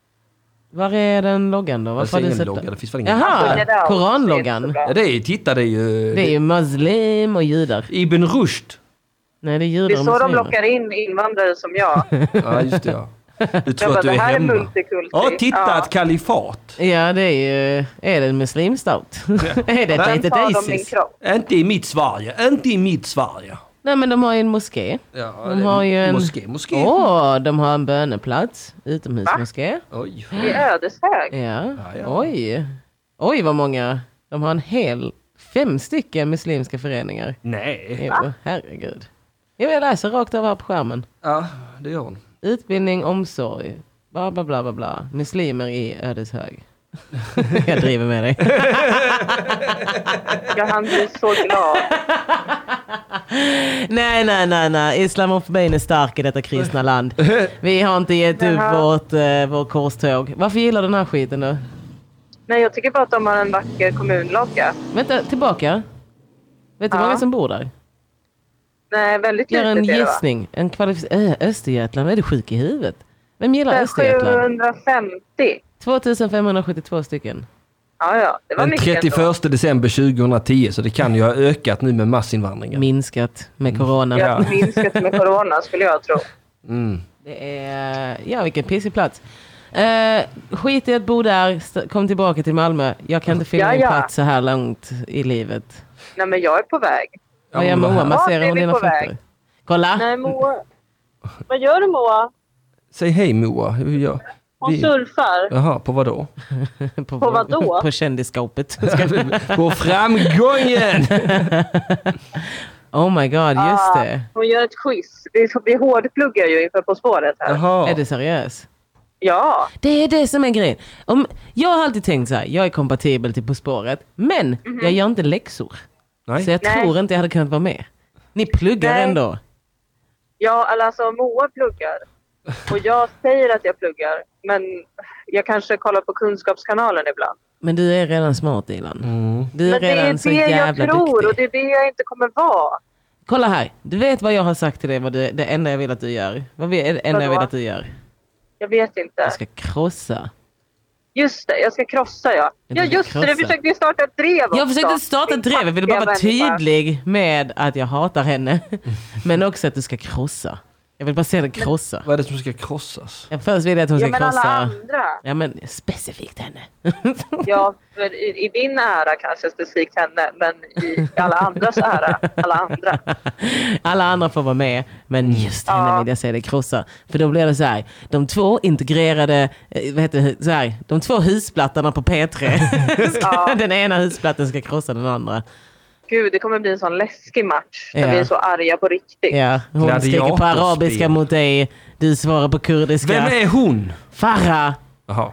Var är den loggan då?
Det
Varför har
finns
du
ingen
sett
logga, det
den?
finns väl ingen...
Alltså, Get
Jaha,
Out, det är
Ah, koranloggan.
inte så bra.
Ja, det är, titta det är ju...
Det är ju muslim och judar.
Ibn Rushd.
Nej, det är judar
Det är
och
så de
muslimer.
lockar in invandrare som jag.
Ja, just det ja. Du
Jag
tror
bara,
att du
det
är
här är
hemma.
multikulti.
Ja, titta
Ja.
ett kalifat.
Ja, det är ju... Är det en muslimstat? <laughs> är det ett
Sen tar
litet
de min
Isis?
kropp.
Inte i mitt Sverige, inte i mitt Sverige.
Nej, men de har ju en moské.
Ja,
De har ju en...
Moské, moské.
Åh, de har en böneplats. Utomhusmoské.
Oj.
I Ödeshög.
Ja.
ja.
Oj. Oj, vad många. De har en hel... Fem stycken muslimska föreningar.
Nej.
Jo, herregud. Jo, jag läser rakt av här på skärmen.
Ja, det gör hon.
Utbildning, omsorg, bla bla bla bla bla. Muslimer i Ödeshög. <laughs> jag driver med dig.
Ja, han blir så glad.
Nej, nej, nej, nej. Islamofobin är stark i detta kristna
<laughs>
land. Vi har inte gett upp
Jaha.
vårt, eh, vårt korståg. Varför gillar du den här skiten nu?
Nej, jag tycker bara att de har en vacker kommunlogga.
Vänta, tillbaka. Vet du hur
Ja.
många som bor där?
Nej, väldigt
Gör en
litet är det va?
gissning. En kvalific- äh, Östergötland, är du sjuk i huvudet? Vem gillar Östergötland?
750.
2572 stycken.
Ja, ja, det var
Den
mycket. ändå.
31 december 2010, så det kan ju ha ökat nu med massinvandringen.
Minskat
Mm.
med corona.
Jag har minskat med corona skulle jag tro.
Det är, ja, vilken pissig plats. Eh, skit i att bo där, st- kom tillbaka till Malmö. Jag kan inte fylla
Ja,
min
ja.
plats så här långt i livet.
Nej, men jag är på väg.
Vad
men
gör
vad
Moa?
här-
Vart
Masserar
är
hon
vi
dina
på väg?
fötter? Kolla!
Nej, Moa. Vad gör du Moa?
Säg hej Moa. Hur gör
Hon
vi-
surfar.
Jaha, på vad då?
<laughs> på,
på vadå?
<laughs> På
<laughs>
kändisskåpet.
på
<laughs>
framgången!
oh my god, just
Ah,
det.
Hon gör ett quiz. Vi, vi hårdpluggar ju inför På spåret här.
Jaha.
Är du seriös?
Ja,
Det är det som är grejen. Om, jag har alltid tänkt så här, jag är kompatibel till På spåret, men jag gör inte läxor. Så
Nej.
jag
Mhm. Nej.
tror inte jag hade kunnat vara med. Ni pluggar
Nej.
ändå.
ja eller alltså Moa pluggar. Och jag säger att jag pluggar. Men jag kanske kollar på Kunskapskanalen ibland.
Men du är redan smart Dilan.
Mm.
Du är
Men det
redan
är
så
det jag
jävla
tror
duktig.
och det är det jag inte kommer vara.
Kolla här, du vet vad jag har sagt till dig, vad du, det enda jag vill att du gör. Vad vi- är det enda jag vill
Vadå?
att du gör?
Jag vet inte.
Jag ska krossa.
Just det, jag ska krossa ja.
Du
Ja
ska
just det,
krossa.
du försökte ju starta ett drev
Jag
också.
försökte starta ett drev, jag ville bara vara
Fattiga människa.
tydlig med att jag hatar henne. <laughs> Men också att du ska krossa. Jag vill bara se dig krossa.
Vad är det som ska krossas?
Jag först vill jag att hon
Ja
ska
men alla
krossa.
andra.
Ja men specifikt henne. <laughs>
Ja, för i, i din ära kanske specifikt henne, men i alla andras ära, alla andra.
Alla andra får vara med, men
Mm.
just henne
Ja.
vill jag se dig krossa. För då blir det så här, de två integrerade, eh, vad heter det, så här, de två husplattarna på <laughs> P3.
Ja.
den ena husplattan ska krossa den andra.
Gud, det kommer bli en sån läskig match där
Ja.
vi är så arga på riktigt.
Ja, hon
Gladiatorspel.
skriker på arabiska mot dig, du svarar på kurdiska.
Vem är hon?
Farah!
Jaha.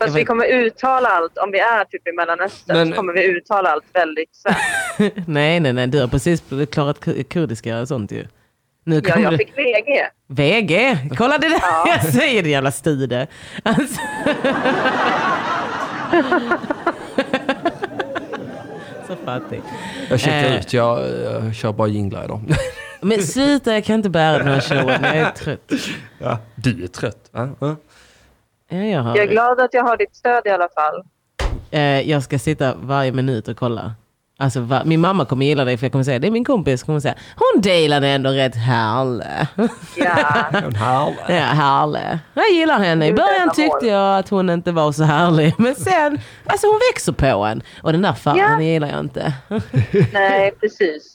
Fast vi kommer uttala allt, om vi är typ i Mellanöstern,
Men-
så kommer vi uttala allt väldigt svenskt.
Nej, nej, nej, du har precis klarat ku- kurdiska och sånt ju. Nu
Ja,
kommer
jag
du...
fick VG.
VG! Kolla det där jag säger, din jävla stude. Alltså... Så fattig.
Jag checkar
Eh.
ut. Jag, jag kör bara jinglar idag. <laughs>
Men sluta, jag kan inte bära den här showen. Jag är trött.
ja. Du är trött. va? Ja.
Ja, jag, har...
Jag är glad att jag har ditt stöd i alla fall.
Eh, jag ska sitta varje minut och kolla. Alltså, va... Min mamma kommer gilla dig för jag kommer säga det är min kompis. Kommer säga, Hon delar är ändå rätt härlig.
Ja.
En halv.
Ja, härlig. Jag gillar henne. I
Gud,
början
denna
tyckte
vår.
jag att hon inte var så härlig. Men sen, alltså hon växer på en. Och den där farmen
Ja.
gillar jag inte.
Nej, precis.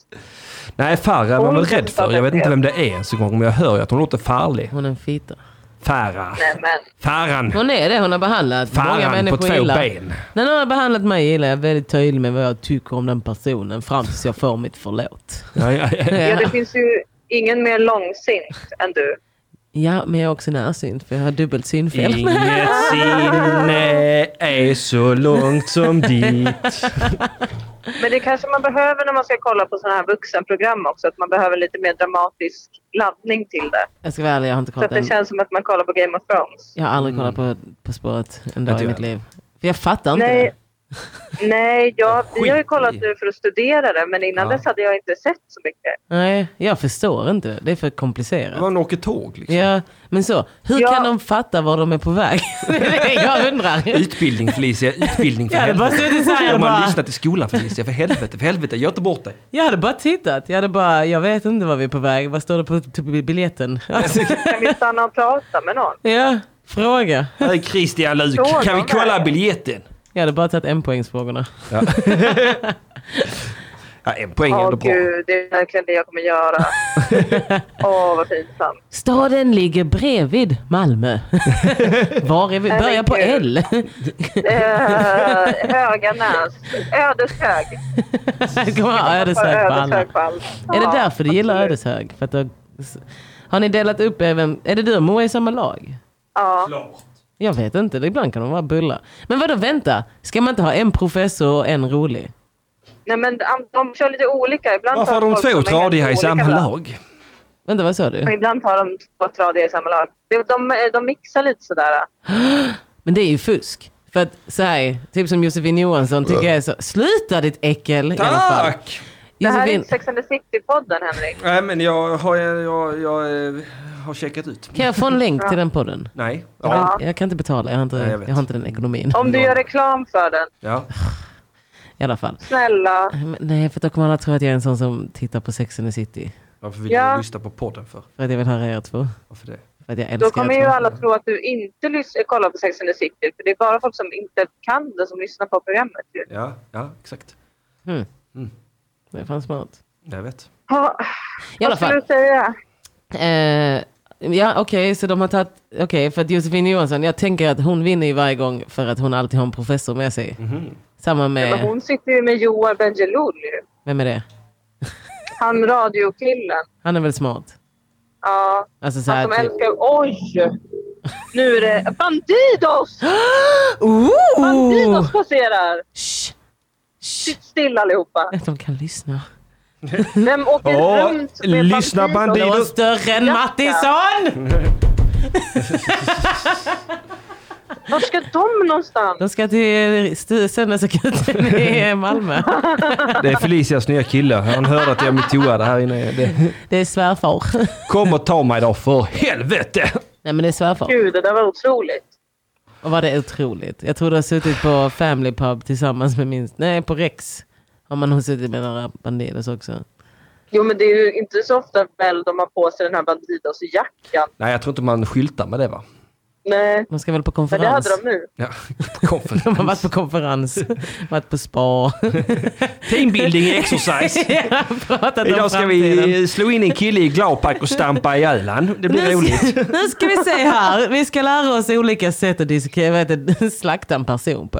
Nej, Farah var man väl rädd för. Jag vet inte vem det är ens en gång, men jag hör ju att hon låter farlig.
Hon är en fitta.
Farah.
Nej, men
Faran.
Hon är det. Hon har behandlat många
Faran på
människor
två
illa.
ben.
När någon har behandlat mig illa är jag väldigt tydlig med vad jag tycker om den personen fram tills jag får mitt förlåt.
Ja, ja,
<laughs>
ja.
ja, det
Ja,
finns ju ingen mer långsint än du.
ja men jag är också närsynt för jag har dubbelt synfel.
Inget sinne är så långt som dit.
Men det kanske man behöver när man ska kolla på sådana här vuxenprogram också. Att man behöver lite mer dramatisk laddning till det.
<laughs> Jag ska vara ärlig, jag har inte
Så att
kollat än.
det känns som att man kollar på Game of Thrones.
Jag har aldrig kollat på
Mm.
På spåret en dag
Inte
i
jag
mitt liv. För jag fattar inte
Nej,
det.
nej jag, vi har ju
Skit i.
kollat nu för att studera det. Men innan
Ja.
dess hade jag inte sett så mycket.
Nej, jag förstår inte. Det är för
<laughs>
komplicerat.
Man åker tåg liksom.
Ja, men så. Hur
Ja.
kan de fatta var de är på väg? <laughs> det är det jag undrar.
Utbildning Felicia, utbildning för
Jag hade bara
helvete.
suttit så här, jag
Om man
bara-
lyssnat i skolan Felicia, för helvete, för helvete, gör inte bort dig.
Jag hade bara tittat. Jag hade bara, jag vet inte var vi är på väg. Vad står det på typ,
<laughs>
biljetten? Alltså,
Kan vi stanna och prata med någon?
ja, fråga.
Här är Christian Luuk,
Fråga
kan vi
mig.
kolla biljetten?
Jag hade bara tagit enpoängsfrågorna.
<laughs> Ja, en poäng är
Åh
ändå bra.
gud, det är verkligen det jag
<laughs>
kommer göra. Åh, vad pinsamt.
Staden ligger bredvid Malmö. <laughs> Var är vi? Börjar på L. <laughs>
Eh, Höganäs. Ödeshög.
Det kommer vara ödeshög på alla.
på allt.
Är det
Ja,
därför du gillar
absolut.
ödeshög? För att du... har- Har ni delat upp er? Vem... Är det du och Moa i samma lag?
Ja.
Jag vet inte, ibland kan de vara bulla. Men vadå, vänta. Ska man inte ha en professor och en rolig?
Nej men de, de kör lite olika. Ibland
Varför
tar
har de
folk
två
som är helt
tradiga i
olika
samma
lag.
lag?
Vänta, vad sa du?
Och ibland tar de två tradiga i samma lag. De, de, de mixar lite sådär.
Men det är ju fusk. För att säg, typ som Josefin Johansson tycker jag är så, sluta ditt äckel i alla fall.
Tack!
Det här är
Josefin,
inte Sex and the City-podden Henrik.
Nej men jag har, jag, jag eh, har checkat ut.
kan jag få en länk till den podden?
Nej. Ja.
Jag kan inte betala, jag har inte,
Nej, jag
jag
vet.
har inte den ekonomin.
Om du gör reklam för den,
ja.
I alla fall.
snälla.
Men Nej, för då kommer alla tro att jag är en sån som tittar på Sex and the City.
Varför vill
Ja.
du lyssna på podden för?
För att jag vill höra er två.
Varför det?
För att jag älskar
Då kommer
er
ju
två.
alla tro att du inte lys- kollar på Sex and the City. För det är bara folk som inte kan det som lyssnar på programmet. ju.
Ja, ja exakt.
Mm.
Mm.
Det är fan smart.
Jag vet.
Ja,
I alla
vad
fall.
skulle du säga?
Eh, ja, okej, så de har tagit... Okej, för att Josefin Johansson, jag tänker att hon vinner ju varje gång för att hon alltid har en professor med sig. Samma
Mhm. Men
med...
hon sitter ju med Joar Bendjelloul ju.
Vem är det?
Han radiokillen.
Han är väl smart?
Ja.
Alltså så
Han
här,
som
typ.
älskar... Oj! Nu är det
<gasps>
Bandidos!
Oh! Ooh!
Bandidos passerar!
Shh,
Sitt still allihopa.
att de kan lyssna. <laughs>
Vem åker
Åh,
runt med
lyssna,
Det
Bandidos.
var större än Mattisson!
Var ska de någonstans?
De ska till stu- söndagsakuten i eh, Malmö.
<laughs> Det är Felicias nya kille. Han hörde att jag metoade här inne. Det.
Det är svärfar.
Kom och ta mig då för helvete!
Nej men det är svärfar.
Gud, det där var otroligt.
Och var det otroligt. Jag tror du har suttit på Family Pub tillsammans med minst... Nej, på Rex. Har man nog suttit med några Bandidos också.
Jo, men det är ju inte så ofta väl de har på sig den här Bandidos-jackan.
Nej jag tror inte man skyltar med det va?
Nej,
De ska väl på
men det hade
konferens.
de nu.
Ja, på <laughs> konferens.
De har varit på konferens, varit på spa.
Teambuilding <laughs> exercise.
Ja, pratat om
Idag ska
framtiden.
vi slå in en kille i Glaupac och stampa ihjäl han. Det blir
Nu
roligt.
ska, <laughs> nu ska vi se här. Vi ska lära oss olika sätt att diska, vad heter, det, <laughs> slakta en person på.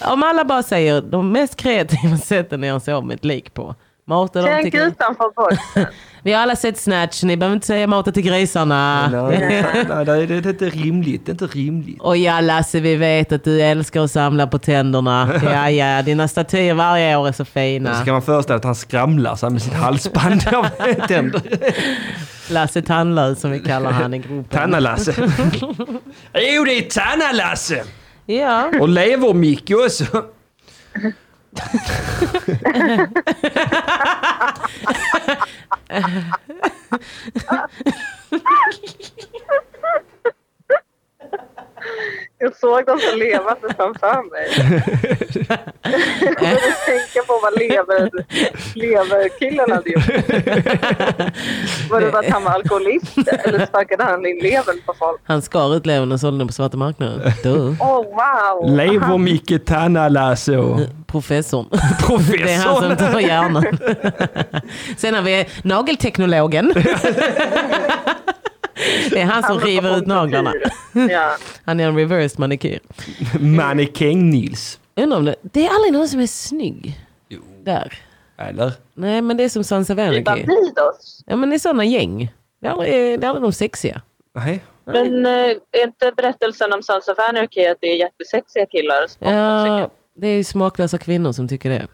Om alla bara säger de mest kreativa sätten jag ser om ett lik på. Mata dem till
Tänk
grisarna.
utanför boxen.
Vi har alla sett Snatch, ni behöver inte säga mata till grisarna.
<laughs> Nej, nej, nej, det är inte rimligt. Det är inte rimligt.
Och ja Lasse, vi vet att du älskar att samla på tänderna.
<laughs>
Ja, ja, dina statyer varje år är så fina.
Så kan man föreställa att han skramlar så här med sitt <laughs> halsband av tänder.
Lasse Tandlös som vi kallar han i gruppen.
Tanna-Lasse. Jo, det är Tanna-Lasse!
Ja.
Och lever-Micke också.
Jag såg dem så levande framför mig. Jag började tänka på vad lever- leverkillen hade gjort. Var det för att han var alkoholist eller sparkade han in levern på folk?
Han skar ut levern och sålde den på svarta marknaden. Du,
Åh, oh, wow!
Lever-Micke Tanna-Lasse
<laughs>
och
professorn. Det är han som
professorn.
tar hjärnan. Sen har vi nagelteknologen. Det är han som
Han
river ut naglarna.
Ja.
Han är en reversed manikyr.
Mannekäng-Nils.
Undrar om det, det är aldrig någon som är snygg. Där.
Eller?
Nej men det är som Sansa
I
Wernicke.
Bandidos.
Ja men det är sådana gäng. Det är aldrig, det är aldrig de sexiga.
Nej.
Men eh, är inte berättelsen om Sons of Anarchy att det är jättesexiga killar? som har
Ja, det är ju smaklösa kvinnor som tycker det.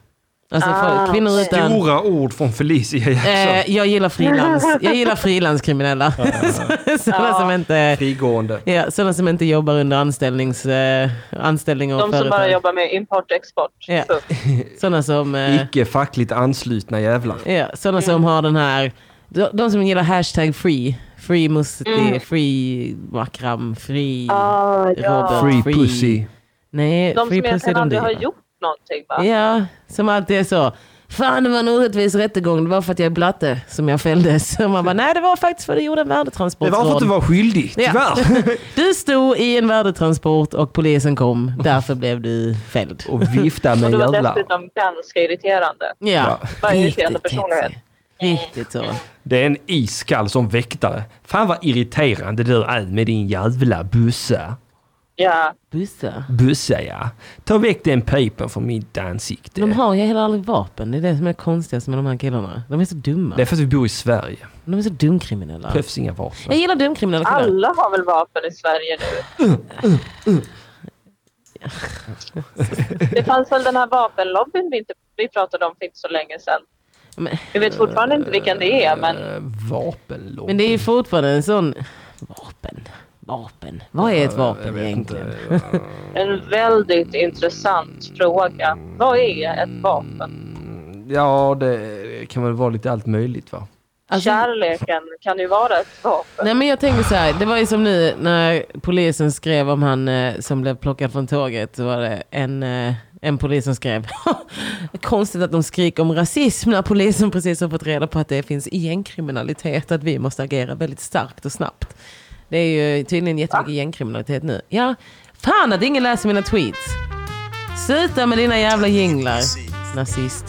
Alltså
Ah,
folk, kvinnor utan...
Stora ord från Felicia Jackson.
Eh, jag gillar frilans. Jag gillar frilanskriminella. <laughs> sådana, som inte,
Frigående.
ja, sådana som inte jobbar under anställnings, eh, anställning och
De som bara jobbar med import och export.
Ja.
Punkt.
<laughs> Sådana som, eh,
Icke fackligt anslutna jävlar.
ja, sådana
Mm.
som har den här, de, de som gillar hashtag free. Free musti, free makram, free...
Ah, Mm. ja.
Robert.
Free
Free.
pussy.
Nej,
De som
free pussy,
egentligen aldrig har
driver.
gjort någonting va?
Ja, som alltid är så. Fan det var en orättvis rättegång, det var för att jag är blatte som jag fälldes. <laughs> Och man bara, nej det var faktiskt för att du gjorde en
Det var för att du
värdetransportrån.
var skyldig,
Ja.
tyvärr.
<laughs> Du stod i en värdetransport och polisen kom, därför blev du fälld.
Och vifta med
Och det
en
var
jävla...
dessutom ganska irriterande.
Ja,
Vad är det för jävla
riktigt
personlighet?
hetsig. Riktigt så.
Det är en iskall som väktare. Fan vad irriterande du är med din jävla bussa.
Ja.
Bussa.
Bussa ja. Ta väck den pipen från mitt ansikte.
De har ju heller aldrig vapen, det är det som är konstigast med de här killarna. De är så dumma.
Det är för att vi bor i Sverige.
De är så dumkriminella.
Behövs inga
Jag
vapen.
gillar dumkriminella killar. <laughs>
Alla har väl vapen i Sverige nu? Det fanns väl den här vapenlobbyn vi, inte, vi pratade om för inte så länge sedan.
Men-
Vi vet fortfarande inte vilken det är, men
Eh, Vapenlopp.
Men det är ju fortfarande en sån... Vapen. Vapen. Vad är ett vapen egentligen?
en väldigt intressant fråga. Vad är ett vapen?
<laughs> Ja, det kan väl vara lite allt möjligt va?
Alltså-
Kärleken kan ju vara ett vapen.
Nej men jag tänker så här, det var ju som nu när polisen skrev om han eh, som blev plockad från tåget. Så var det en, eh, en polis som skrev, <laughs> konstigt att de skriker om rasism när polisen precis har fått reda på att det finns gängkriminalitet, att vi måste agera väldigt starkt och snabbt. Det är ju tydligen jättemycket gängkriminalitet nu. Ja, fan att ingen läser mina tweets. Sluta med dina jävla jinglar, nazist.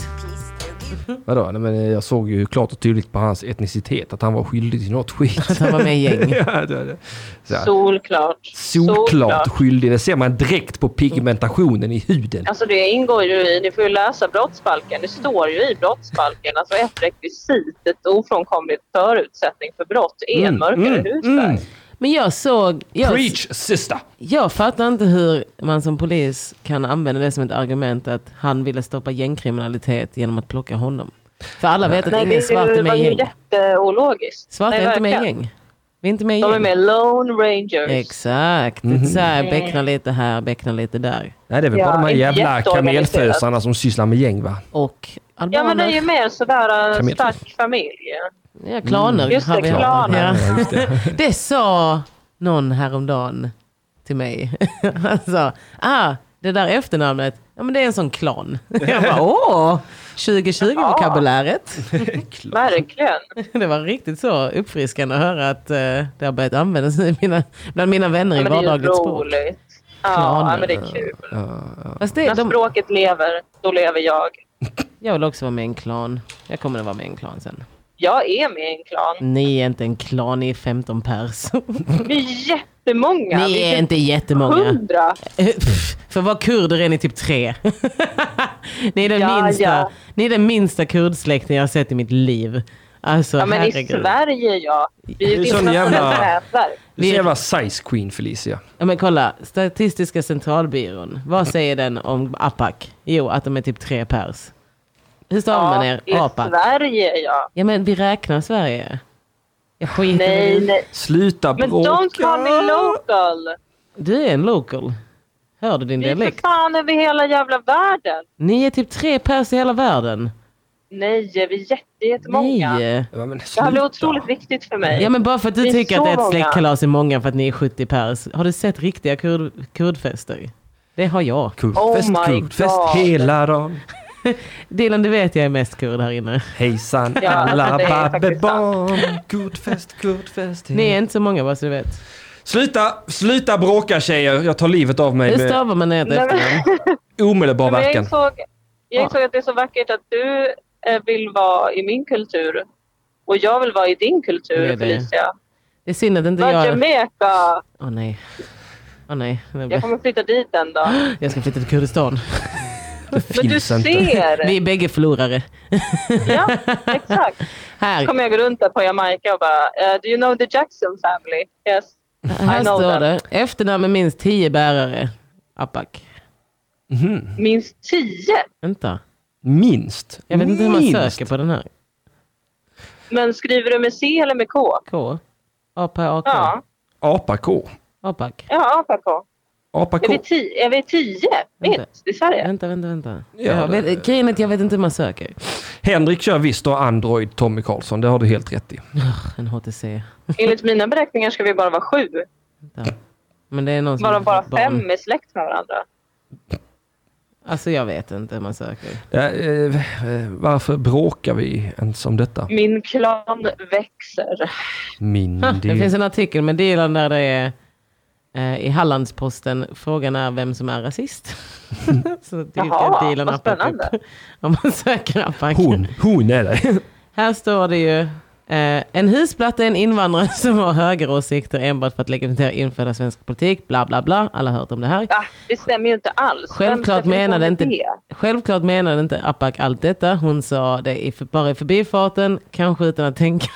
Vadå? Nej, men jag såg ju klart och tydligt på hans etnicitet att han var skyldig till något
<laughs>
skit.
Att han var med i gäng.
ja, det, det. Så här.
Solklart.
Solklart skyldig. Det ser man direkt på pigmentationen i huden.
Alltså det ingår ju i, ni får ju läsa brottsbalken, det står ju i brottsbalken, alltså ett rekvisit, ett ofrånkomligt förutsättning för brott är en mörkare hudfärg.
Men jag såg... Jag,
Preach sister!
Jag fattar inte hur man som polis kan använda det som ett argument att han ville stoppa gängkriminalitet genom att plocka honom. För alla vet att
Nej,
ingen svart
det
är
var
med i
ju
gäng.
jätteologiskt.
Svarta
Nej,
är inte med i
verkligen.
gäng. Vi är inte med i
De är
gäng.
med Lone Rangers.
Exakt. Så här, beckna lite här, beckna lite där.
Nej, det är väl
Ja,
bara de här
inte
jävla
jätteorganiserat.
kamelfösarna som sysslar med gäng va?
Och
Ja, men det är ju
albaner.
mer sådär
Kamel.
en stark familj.
Ja, klaner
Mm. Just det,
har vi.
klaner.
Ja. <laughs> det sa någon häromdagen till mig. <laughs> Han sa, ah, det där efternamnet, ja men det är en sån klan. <laughs> Jag bara, åh, 2020-vokabuläret.
Verkligen.
<laughs> Det var riktigt så uppfriskande att höra att eh, det har börjat användas i mina, bland mina vänner
Ja,
i
men det är ju
vardagligt språk.
roligt. Ja,
Klaner.
ja, men det är kul.
Fast det,
När
de,
språket lever, då lever jag.
jag vill också vara med i en klan. Jag kommer att vara med i en klan sen.
Jag är med i en klan.
Ni är inte en klan, ni är 15 pers.
Vi är jättemånga.
ni
Vi
är
typ
inte jättemånga.
Hundra.
Eh, Pff, För vad kurder är ni typ tre. <laughs> ni, är den
Ja,
minsta,
ja.
ni är den minsta kurdsläkten jag har sett i mitt liv. Alltså
Ja, men i
herregud.
Sverige, ja. Vi är
Det
ju
är
ett
sån
internationellt
jävla-
nätverk.
Du är så
Vi-
jävla size queen Felicia.
Ja, men kolla, Statistiska centralbyrån, vad säger den om APAC? Jo, att de är typ tre pers. Hur stavar man
Ja,
er?
I
APAC?
Sverige, ja.
Ja men vi räknar Sverige. Jag skiter
Nej,
i det.
nej.
Sluta
Men don't call me local.
Du är en local. Hör du din
Vi är för
dialekt?
fan över hela jävla världen.
Ni är typ tre pers i hela världen.
Nej, vi är jätte, jättemånga.
Nej.
Ja, men
Det här blir
sluta.
otroligt viktigt för mig.
Ja men bara för att
Vi
du
är
tycker
så
att ett
många.
släktkalas är många för att ni är 70 pers. Har du sett riktiga kurd, kurdfester? Det har jag.
Kurvfest,
Oh my
kurvfest
God.
hela dagen.
Dylan du vet jag är mest kurd här inne.
Hejsan
Ja,
alla
det är faktiskt
Babbebom. Kurvfest, kurvfest.
Ni är inte så många bara så du vet.
Sluta, sluta bråka tjejer. Jag tar livet av mig
Hur
med
stavar man ert
Nej, men-
efternamn?
omedelbar
Men jag
verkan.
insåg, jag insåg att det är så vackert att du eh, vill vara i min kultur. Och jag vill vara i din
Det
kultur,
är det.
Felicia.
Det är synd att inte
Vad
jag...
Jamaica!
Åh nej. Åh nej. Jag,
Jag kommer flytta dit en dag.
jag ska flytta till Kurdistan.
Men du
Finns inte.
Vi är
ser!
bägge förlorare.
Ja, exakt.
Här,
Då kommer jag gå runt där på Jamaica och bara eh, Do you know the Jackson family? Yes.
här
I know
står
them.
det. Efternamn med minst tio bärare. Apak.
Minst tio!
Vänta.
Mhm. Minst.
Jag vet inte hur man
Minst.
söker på den här.
Men skriver du med C eller med K?
K. A-P-A-K.
Ja,
Apa-K.
Apak.
ja APK. Är
Apa-K.
vi, ti- är vi tio minst i Sverige?
Vänta, vänta, vänta.
Ja,
jag
det-
vet, grejen är att jag vet inte hur man söker.
Henrik kör visst då Android Tommy Karlsson. Det har du helt rätt i.
En HTC.
Enligt mina beräkningar ska vi bara vara sju.
Alltså,
Vänta. Men det är någon som
Bara,
har
bara
fått barn.
fem är släkt med varandra.
Alltså jag vet inte hur man söker.
Ja, eh, eh, varför bråkar vi ens om detta?
Min klan växer.
Min
Ha, det
del.
finns en artikel med Dylan där det är eh, i Hallandsposten, frågan är vem som är rasist. <laughs> Så dyker
Jaha,
Dylan
vad
Apak upp
spännande.
<laughs> Om man söker Apak.
Hon, hon är det.
Här står det ju. Eh, en husplatta är en invandrare <laughs> som har högeråsikter enbart för att legitimera införda svensk politik. Bla bla bla. Alla har hört om det här.
Ah, det stämmer ju inte alls.
Självklart
Vems definition
menade,
är
inte,
det?
självklart menade inte Apak allt detta. Hon sa det i, för- bara i förbifarten, kanske utan
<laughs>
att tänka.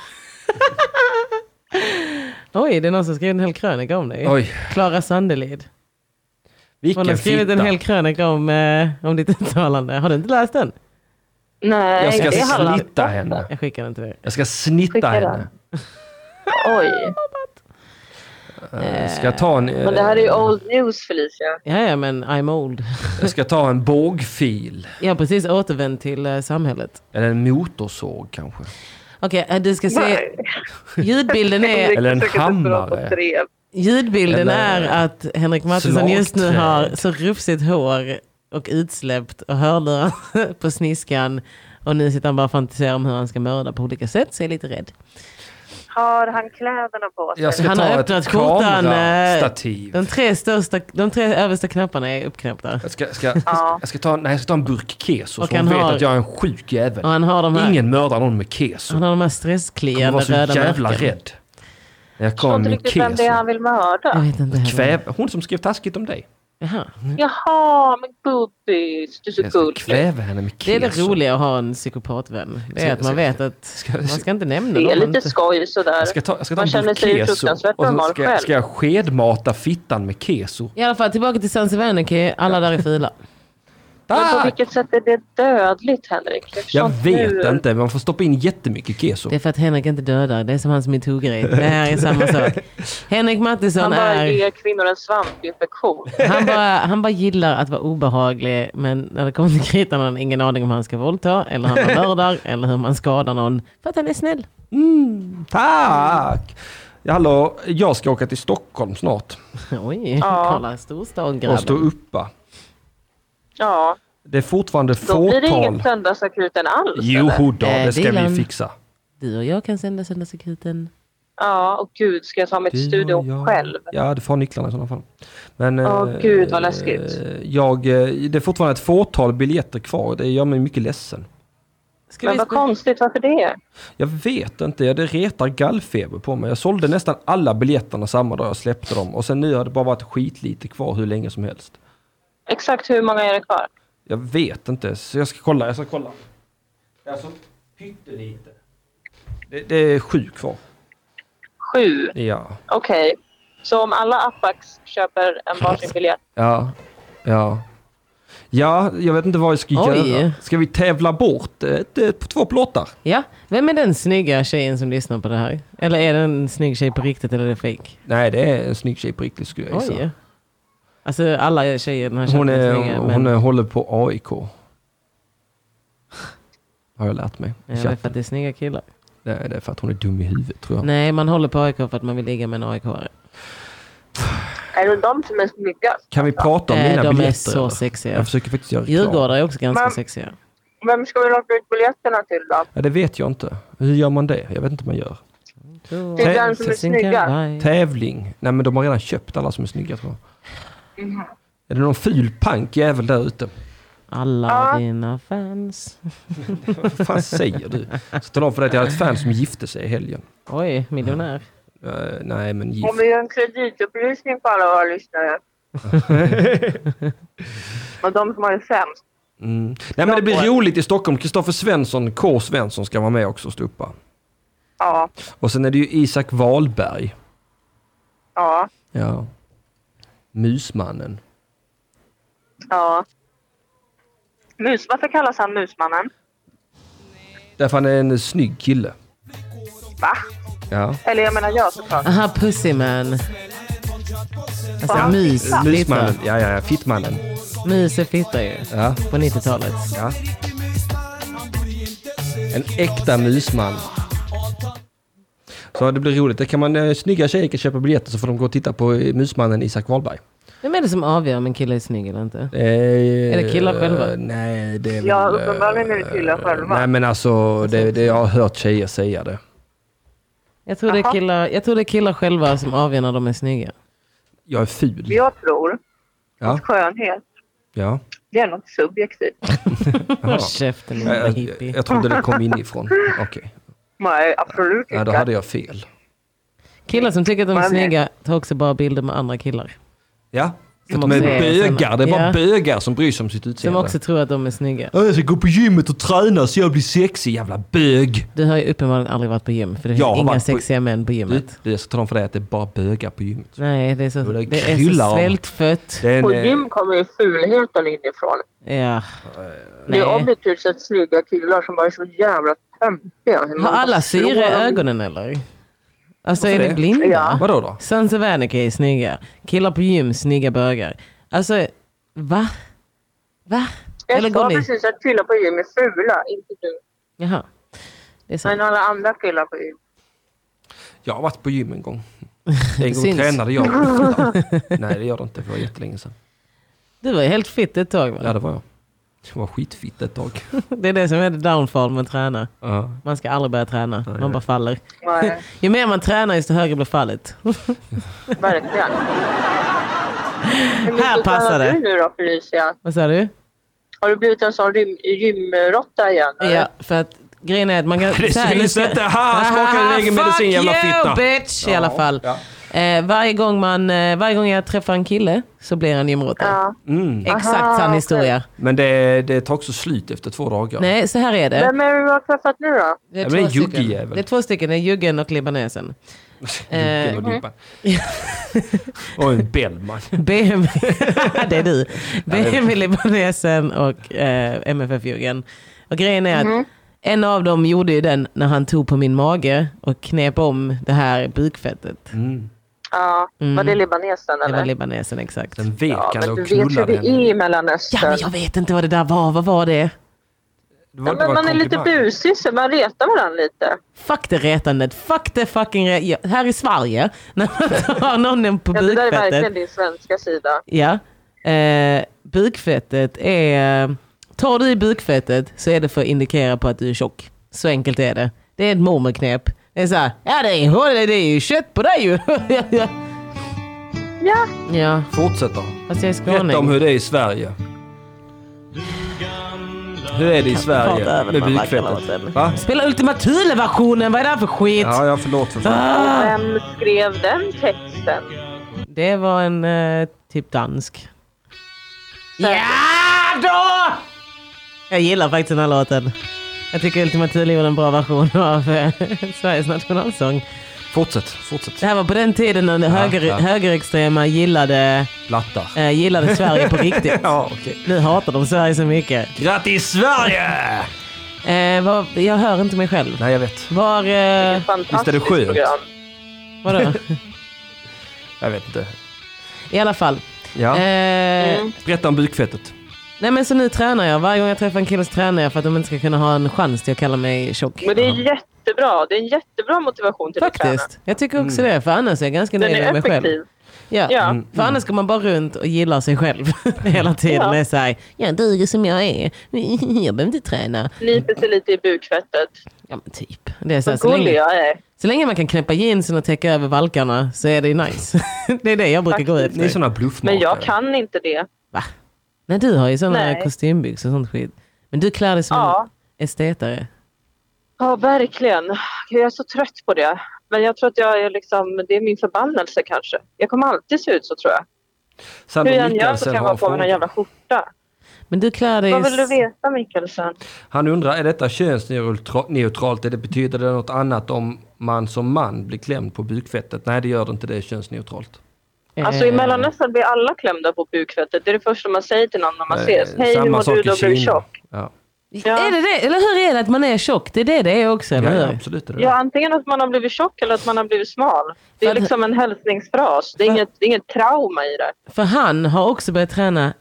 Oj, det är någon som skrev en hel krönika om dig.
Oj.
Klara Sandelid.
Vilken
Hon har skrivit
fitta.
en hel krönika om, eh, om ditt uttalande. Har du inte läst den?
Nej,
Jag ska
det handlar inte
snitta
om.
henne.
Jag skickar den till dig.
Jag ska snitta
Skicka den.
henne.
Oj,
Eh, Ska jag ta en,
men det här är ju old news Felicia.
Ja, ja, men I'm old.
eh, ska jag ta en bågfil.
Jag har precis återvänt till eh, samhället.
Eller en motorsåg kanske.
Okej, eh, du
<laughs>
ska se. Ljudbilden är...
Eller en hammare.
Ljudbilden
Eller-
är att Henrik Mattisson just nu
Slagträd.
har så rufsigt hår och utsläppt och hörlurar <laughs> på sniskan. Och nu sitter han bara och fantiserar om hur han ska mörda på olika sätt, så jag är lite rädd.
Har han kläderna på sig?
Jag ska
Han
ta
har
ett
öppnat skjortan, eh,
kamerastativ.
De tre, största, de tre översta knapparna är uppknäppta.
Jag ska, ska, jag ska, jag ska ta, nej, jag ska ta en burk keso
Och
så
han
hon vet
har-
att jag är en sjuk jävel.
Och han har de här,
Ingen mördar någon med keso.
han har de
Jag
här
var
stresskliande
så
röda
jävla
märken.
rädd. När jag
Jag
kom
förstår
med
inte
min
riktigt vem det är
keso.
han vill
Jag
mörda.
vet inte heller.
Kväv, hon som skrev taskigt om dig.
Jaha.
Jaha, men gubbis, du är så
Jag ska
gullig.
kväva henne med keso.
Det är det roliga att ha en psykopatvän. Det är
Ska-
att man
ska-
vet att
ska-
man ska inte nämna
Det är
någon.
lite skoj sådär.
Jag ska ta, jag ska ta
Man
en
känner
burk
sig ju
keso
fruktansvärt
och så
normal
ska, jag-
själv.
ska jag skedmata fittan med keso.
I alla fall tillbaka till Sansevenicki, alla där är fula.
Men på
Ah!
vilket sätt är det dödligt Henrik? Jag,
Jag
förstår inte
vet
hur-
inte, men man får stoppa in jättemycket keso.
Det är för att Henrik inte dödar, det är som hans metoo-grej. Det här är samma sak. Henrik Mattisson
Han bara
är...
ger kvinnor en svampinfektion.
Han bara, han bara gillar att vara obehaglig men när det kommer till kritan har han ingen aning om hur han ska våldta eller hur man
<laughs>
mördar eller hur man skadar någon. För att han är snäll. <laughs>
Tack! Ja, hallå, jag ska åka till Stockholm snart
Oj,
Ja.
kolla storstad
och stå
grabben.
uppa.
Ja,
Det är fortfarande
då blir det ingen
fåtal.
söndagsakuten alls. eller?
Joho då,
Eh,
det ska vi
Dilan.
fixa.
Du och jag kan sända Söndagsakuten.
Ja, och gud, ska jag ta mig till studion
Ja, ja.
själv?
Ja, du får ha nycklarna i sådana fall. Men,
Åh,
eh,
gud, vad läskigt.
eh, Jag, eh, det är fortfarande ett fåtal biljetter kvar. Det gör mig mycket ledsen.
Ska
Men
vi
vad
spela-
konstigt, varför det?
Jag vet inte, ja, det retar gallfeber på mig. Jag sålde nästan alla biljetterna samma dag jag släppte dem. Och sen nu har det bara varit skitlite kvar hur länge som helst.
Exakt hur många är det kvar?
Jag vet inte, så jag ska kolla. Jag ska kolla. Det är Alltså, pyttelite. Det, det är sju kvar.
Sju?
Ja.
Okej. Så om alla Apax köper en varsin biljett?
Ja. Ja. Ja, jag vet inte vad jag ska
Oj.
göra. Ska vi tävla bort ett, ett, två plåtar?
Ja, vem är den snygga tjejen som lyssnar på det här? Eller är det en snygg tjej på riktigt eller är det fejk?
Nej, det är en snygg tjej på riktigt skulle jag
Oj.
gissa.
Alltså alla tjejer i den här chatten
Hon, är,
snygga,
hon,
men
är, håller på AIK. <laughs> Har jag lärt mig.
Ja, det är för att det är snygga killar.
Nej, det är för att hon är dum i huvudet tror jag.
Nej, man håller på AIK för att man vill ligga med en AIK-are.
Är det de som är snyggast?
Kan vi prata om
Eh,
mina
de är
biljetter?
så
eller?
sexiga.
Jag försöker faktiskt göra reklam.
Djurgårdar är också ganska
Men-
sexiga.
Vem ska vi locka ut biljetterna till då?
Ja, det vet jag inte. Hur gör man det? Jag vet inte hur man gör.
Det är den som är snyggast.
Tävling? Nej, men de har redan köpt alla som är snygga tror jag.
Mm-hmm.
Är det någon ful punkjävel där ute?
Alla
Ja.
dina fans.
Vad fan säger du? Så tala om för dig att jag hade ett fan som gifte sig i helgen.
Oj, miljonär.
Eh, nej, men
Om
gift.
vi gör en kreditupplysning på alla våra lyssnare. Och de som har det sämst.
Mm. Nej, men det blir roligt i Stockholm. Kristoffer Svensson, K. Svensson, ska vara med också och stå uppa.
Ja,
Och sen är det ju Isak Wahlberg.
ja,
Ja. Musmannen.
ja. Mus, varför kallas han Musmannen?
Därför han är en snygg kille.
Va?
Ja.
Eller jag menar jag såklart.
Aha, Pussyman. Alltså
Fan.
mus.
Musmannen. Ja, ja, ja. Fittmannen.
fitta. Mus är fitta ju.
Ja.
På 90-talet.
Ja. En äkta mysman. Så det blir roligt. Det kan man, eh, snygga tjejer kan köpa biljetter så får de gå och titta på eh, musmannen Isak Wahlberg.
Vem är det som avgör om en kille är snygg eller inte?
Eh, är
det killar själva?
Nej, det är
Ja,
väl, eh,
uppenbarligen är det killar själva.
Nej, men alltså det, det, jag har hört tjejer säga det.
Jag tror, det är
Jaha.
killar, jag tror det är killar själva som avgör när de är snygga.
Jag är ful.
Jag tror
Ja.
att skönhet,
ja.
det är något subjektivt.
Jaha.
Håll käften din jävla
Jag,
hippie.
Eh, jag, jag trodde det kom
<laughs>
inifrån. Okej,
Nej, absolut
ja, då
inte.
hade jag fel.
Killar som tycker att de är
Man är-
snygga tar också bara bilder med andra killar.
Ja,
Som
med
också är
bögar.
såna-
Det är bara
ja.
bögar som bryr sig om sitt
Som
utseende.
också tror att de är snygga.
Ja, Jag ska gå på gymmet och träna så jag blir sexig, jävla bög.
Du har ju uppenbarligen aldrig varit på gym, för det
Jag har
finns inga
varit på-
sexiga män på
Du,
gymmet.
jag ska tala om för dig att det är bara bögar på gymmet.
Nej, det är så,
Jo, det
det är
kryllar
så
av-
svältfött.
Det Eh, är en,
På
eh,
gym kommer ju fulheten inifrån.
Ja.
Det är
Nej.
objektivt sett snygga killar som bara är så jävla töntiga.
Har alla syre i ögonen eller? Alltså är
Varför
vi
det?
blinda?
Ja.
Vadå då?
Sons of Anarchy är snygga. Killar på gym, snygga bögar. Alltså, va? Va? Eller
Jag
går
sa
ni?
precis att killar på gym är fula, inte du.
Jaha. Det är sant.
Men alla andra killar på gym.
Jag har varit på gym en gång. En gång
syns.
tränade <laughs> jag. Nej, det gör det inte. Det var jättelänge sedan.
Du var ju helt fit ett tag va?
Ja, det var jag. Jag var skitfitt ett tag.
Det är det som är the downfall med att träna.
Ja.
Man ska aldrig börja träna. Man bara faller. <laughs>
Nej,
Ju mer man tränar desto högre blir fallet. <laughs>
verkligen. Hur mycket
Här passar
tränar
det.
du nu då Felicia?
Vad sa du?
Har du blivit en sån rym- gymråtta igen? eller?
Ja, för att grejen är att man kan...
<laughs> <laughs> Det Ah,
så här, nu
syns
ska- Ah,
inte. Ha, smaka din egen
Fuck
medicin, jävla
you,
fitta.
bitch! I alla fall. Eh, varje, gång man, eh, varje gång jag träffar en kille så blir han gymråtta.
Ja. Aha,
Exakt sann
okej.
historia.
Mm. Men det, det tar också slut efter två dagar.
Nej, så här är det.
Vem är det du har träffat nu då?
Det är,
Ja, men det är
två stycken.
juggjävel.
det är två stycken, det är juggen
<laughs>
och libanesen. Eh,
Jocke
Mm.
och
<laughs>
Dimpan. Och en Bellman.
BM, <laughs> det är du. BM i libanesen och eh, MFF juggen. Och grejen är att
Mhm.
en av dem gjorde ju den när han tog på min mage och knep om det här bukfettet.
Ja, Var det libanesen
Mm. Det
eller?
var libanesen exakt.
Den vek
ja,
han
men
och
du vet hur
knullade
det
henne.
är i
Ja
Mellanöstern.
men jag vet inte vad det där var, vad var det?
Det var-
Ja,
det var
men man är lite
komplimang.
busig så man retar varandra lite.
Fuck det retandet, fuck det fucking re- ja, Här i Sverige, <laughs> när man tar någon på
Ja, det där är
bukfettet.
verkligen din svenska sida.
Ja. Eh, bukfettet är... Tar du i bukfettet så är det för att indikera på att du är tjock. Så enkelt är det. Det är ett mormonknep. Det är så här, ja det är, det är ju kött på dig ju. <laughs> ja.
Ja,
ja,
Fortsätter.
fast jag är
Berätta om
skåning.
hur det är i Sverige. Hur är det i
prata
Sverige
över
med
den här vackra
bukfettet?
låten.
Va?
Spela Ultima Thule-versionen, vad är det här för skit?
Ja, jag förlåt för fan.
Ah!
vem skrev den texten?
Det var en eh, typ dansk. Ja då! Jag gillar faktiskt den här låten. Jag tycker Ultima Thule gjorde en bra version av eh, <laughs> Sveriges nationalsång.
Fortsätt, fortsätt.
Det här var på den tiden när höger,
ja.
högerextrema gillade,
Lattar.
eh, gillade
<laughs>
Sverige på riktigt.
Ja, okej.
Nu hatar de Sverige så mycket.
Grattis Sverige!
Eh, vad, jag hör inte mig själv.
Nej, jag vet.
Var... Eh,
Fantastiskt
är det skönt?
program.
vadå?
Jag vet inte.
I alla fall.
Ja.
Eh,
Berätta om bukfettet.
Nej men så nu tränar jag. Varje gång jag träffar en kille så tränar jag för att de inte ska kunna ha en chans till att kalla mig tjock.
Men det är jättebra. Det är en jättebra motivation till att träna.
Faktiskt. Jag tycker också
Mm.
det. För annars är jag ganska
Den
nöjd med
är
mig själv.
effektiv.
Ja.
Ja.
För annars går man bara runt och gillar sig själv <laughs> hela tiden.
Ja.
Det är så här, jag duger som jag är. <laughs> Jag behöver inte träna.
Nyper sig lite i bukfettet.
Ja men typ. Det är så, här,
Vad
så,
gullig
länge,
jag är.
så länge man kan knäppa jeansen och täcka över valkarna så är det ju nice. <laughs> det är det jag brukar gå
Faktiskt.
efter.
Ni är såna
Men
bluffmakare.
jag kan inte det.
Va? Nej du har ju sådana
Nej.
kostymbyxor och sånt skit. Men du klär dig som
Ja.
en estetare.
Ja, verkligen. Jag är så trött på det. Men jag tror att jag är liksom, det är min förbannelse kanske. Jag kommer alltid se ut så tror jag.
Sandro
Hur jag än gör så
Mikkelsen
kan jag
har
ha
en
på mig någon
fråga.
jävla skjorta.
Men du klär dig...
Vad vill du
s-
veta Mikkelsen?
Han undrar, är detta könsneutralt? Är det betyder det något annat om man som man blir klämd på bukfettet? Nej, det gör det inte. Det är könsneutralt.
Alltså i
Eh,
Mellanöstern blir alla klämda på bukfettet. Det är det första man säger till någon när man ses.
Eh,
Hej, hur
samma
mår
sak
du?
i
Du har blivit
Kina.
tjock.
Ja,
Ja.
Är det det? Eller hur är det att man är tjock? Det är det det är också,
ja,
eller
ja
hur?
absolut är det
Ja,
det.
antingen att man har blivit tjock eller att man har blivit smal. Det är
För-
liksom en hälsningsfras. Det är
För-
inget, det är inget trauma i det.
För han har också börjat träna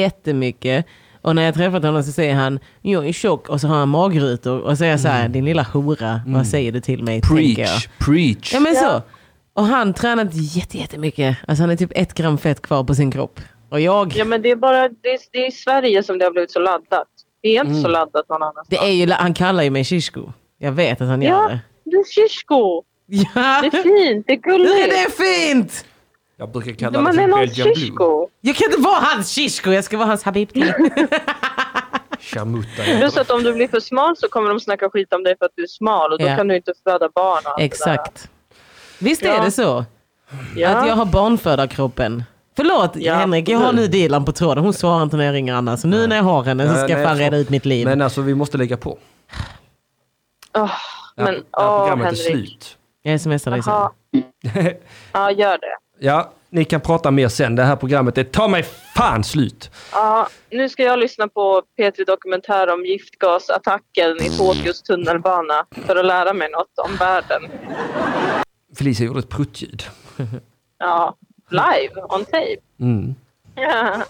jättemycket. Och när jag träffat honom så säger han, jag är tjock och så har han magrutor och säger så här, din lilla hora, vad säger du till mig? tänker jag.
Mm. Preach, preach.
Ja men så. Och han tränat jätte- jättemycket. Alltså han är typ ett gram fett kvar på sin kropp. Och jag,
Ja, men det är bara det är, det är i Sverige som det har blivit så laddat. Det är inte så laddat någon
Mm. det
annanstans.
är ju, han kallar ju mig Shishko. Jag vet att han gör
Ja,
det. <laughs>
det är kysko.
Ja!
Det är fint, det är
Hur är
gulligt.
det fint?
Jag brukar kalla det
Man är
för
någon
Belgian blue.
kysko.
Jag kan inte vara hans Shishko, jag ska vara hans Habibti. <laughs>
Chamutta.
Plus att om du blir för smal så kommer de snacka skit om dig för att du är smal och då
Ja.
kan du inte föda barn. och allt det där.
Exakt. Visst är
Ja.
det så?
Ja.
Att jag har barnfödarkroppen. Förlåt Henrik, jag har nu Dilan på tråden. Hon svarar inte när jag ringer Anna. Så nu när jag har henne så
Ja,
ska jag
nej,
fan
så-
reda ut mitt liv.
Men alltså vi måste lägga på.
Åh, men
det här
åh,
programmet är
Henrik.
slut.
Jag smsar dig sen.
Ja.
<laughs>
ja, gör det.
Ja, ni kan prata mer sen. Det här programmet är ta mig fan slut.
Ja, nu ska jag lyssna på P3 Dokumentär om giftgasattacken i Tokyos tunnelbana för att lära mig något om världen.
Felicia gjorde ett pruttljud.
Ja, live, on tape.
Mm.
Ja.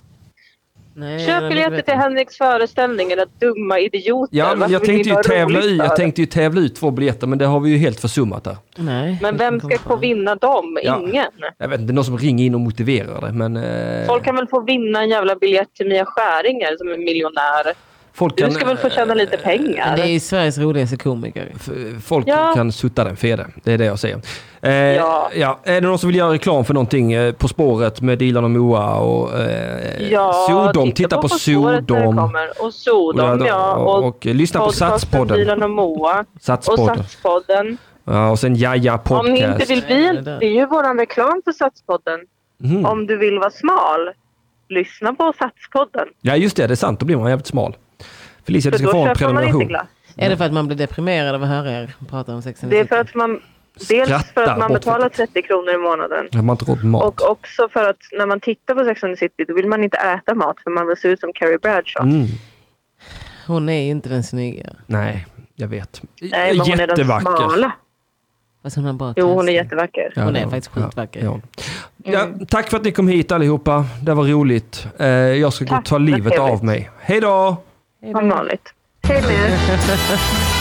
Nej,
Köp
men
biljetter
vet
till
jag.
Henriks föreställning, era dumma idioter.
Ja, men
Varför
jag
vill
tänkte
ni
ju
vara
tävla
roligt
i,
för?
jag tänkte ju tävla i två biljetter men det har vi ju helt försummat där.
Nej,
Men
jag
vem
kommer
ska
på
få
det.
vinna dem?
Ja.
Ingen.
Jag vet inte, det är någon som ringer in och motiverar det men... eh,
Folk kan väl få vinna en jävla biljett till Mia Skäringer som är miljonär.
folk
Du ska väl få
eh,
tjäna lite pengar?
Det är ju Sveriges roligaste komiker.
f- Folk
Ja.
kan sutta den fede, det är det jag säger. Eh, ja.
Ja.
Är det någon som vill göra reklam för någonting? eh, På spåret med Dilan och Moa och eh, Sodom. Titta, på,
spåret när det
Sodom.
kommer. Och Sodom,
Och-
ja.
och- och lyssna på
podcasten
Satspodden.
Dilan och Moa. Och
Satspodden.
Satspodden.
Ja, och sen Jaja
Om ni inte
Podcast.
vill bli en... Det är ju våran reklam för Satspodden.
Mm.
Om du vill vara smal, lyssna på Satspodden.
Ja, just det. Det är sant. Då blir man jävligt smal. Felicia, du
För
ska
då
få en
köper man inte
prenumeration.
glass.
Är det för att man blir deprimerad av att höra er prata om Sex and the
Det är
City?
för att man... Dels för
Skrattar
att man
bort
betalar
det.
30 kronor i månaden.
Har man inte råd med mat.
Och också för att när man tittar på Sex and the City då vill man inte äta mat för man vill se ut som Carrie Bradshaw.
Mm.
Hon är ju inte den snygga.
Nej, jag vet.
Nej, men hon är den
Jättevacker.
smala.
Fast hon har bra
Jo, hon är
tassar.
jättevacker.
Ja,
Hon är
ja,
faktiskt
ja,
skitvacker.
ja.
Mm.
Ja, tack för att ni kom hit allihopa. Det var roligt. Eh, jag ska gå och
Tack,
ta
vad
livet
trevligt.
av mig. Hej då!
Som vanligt. Hej med er.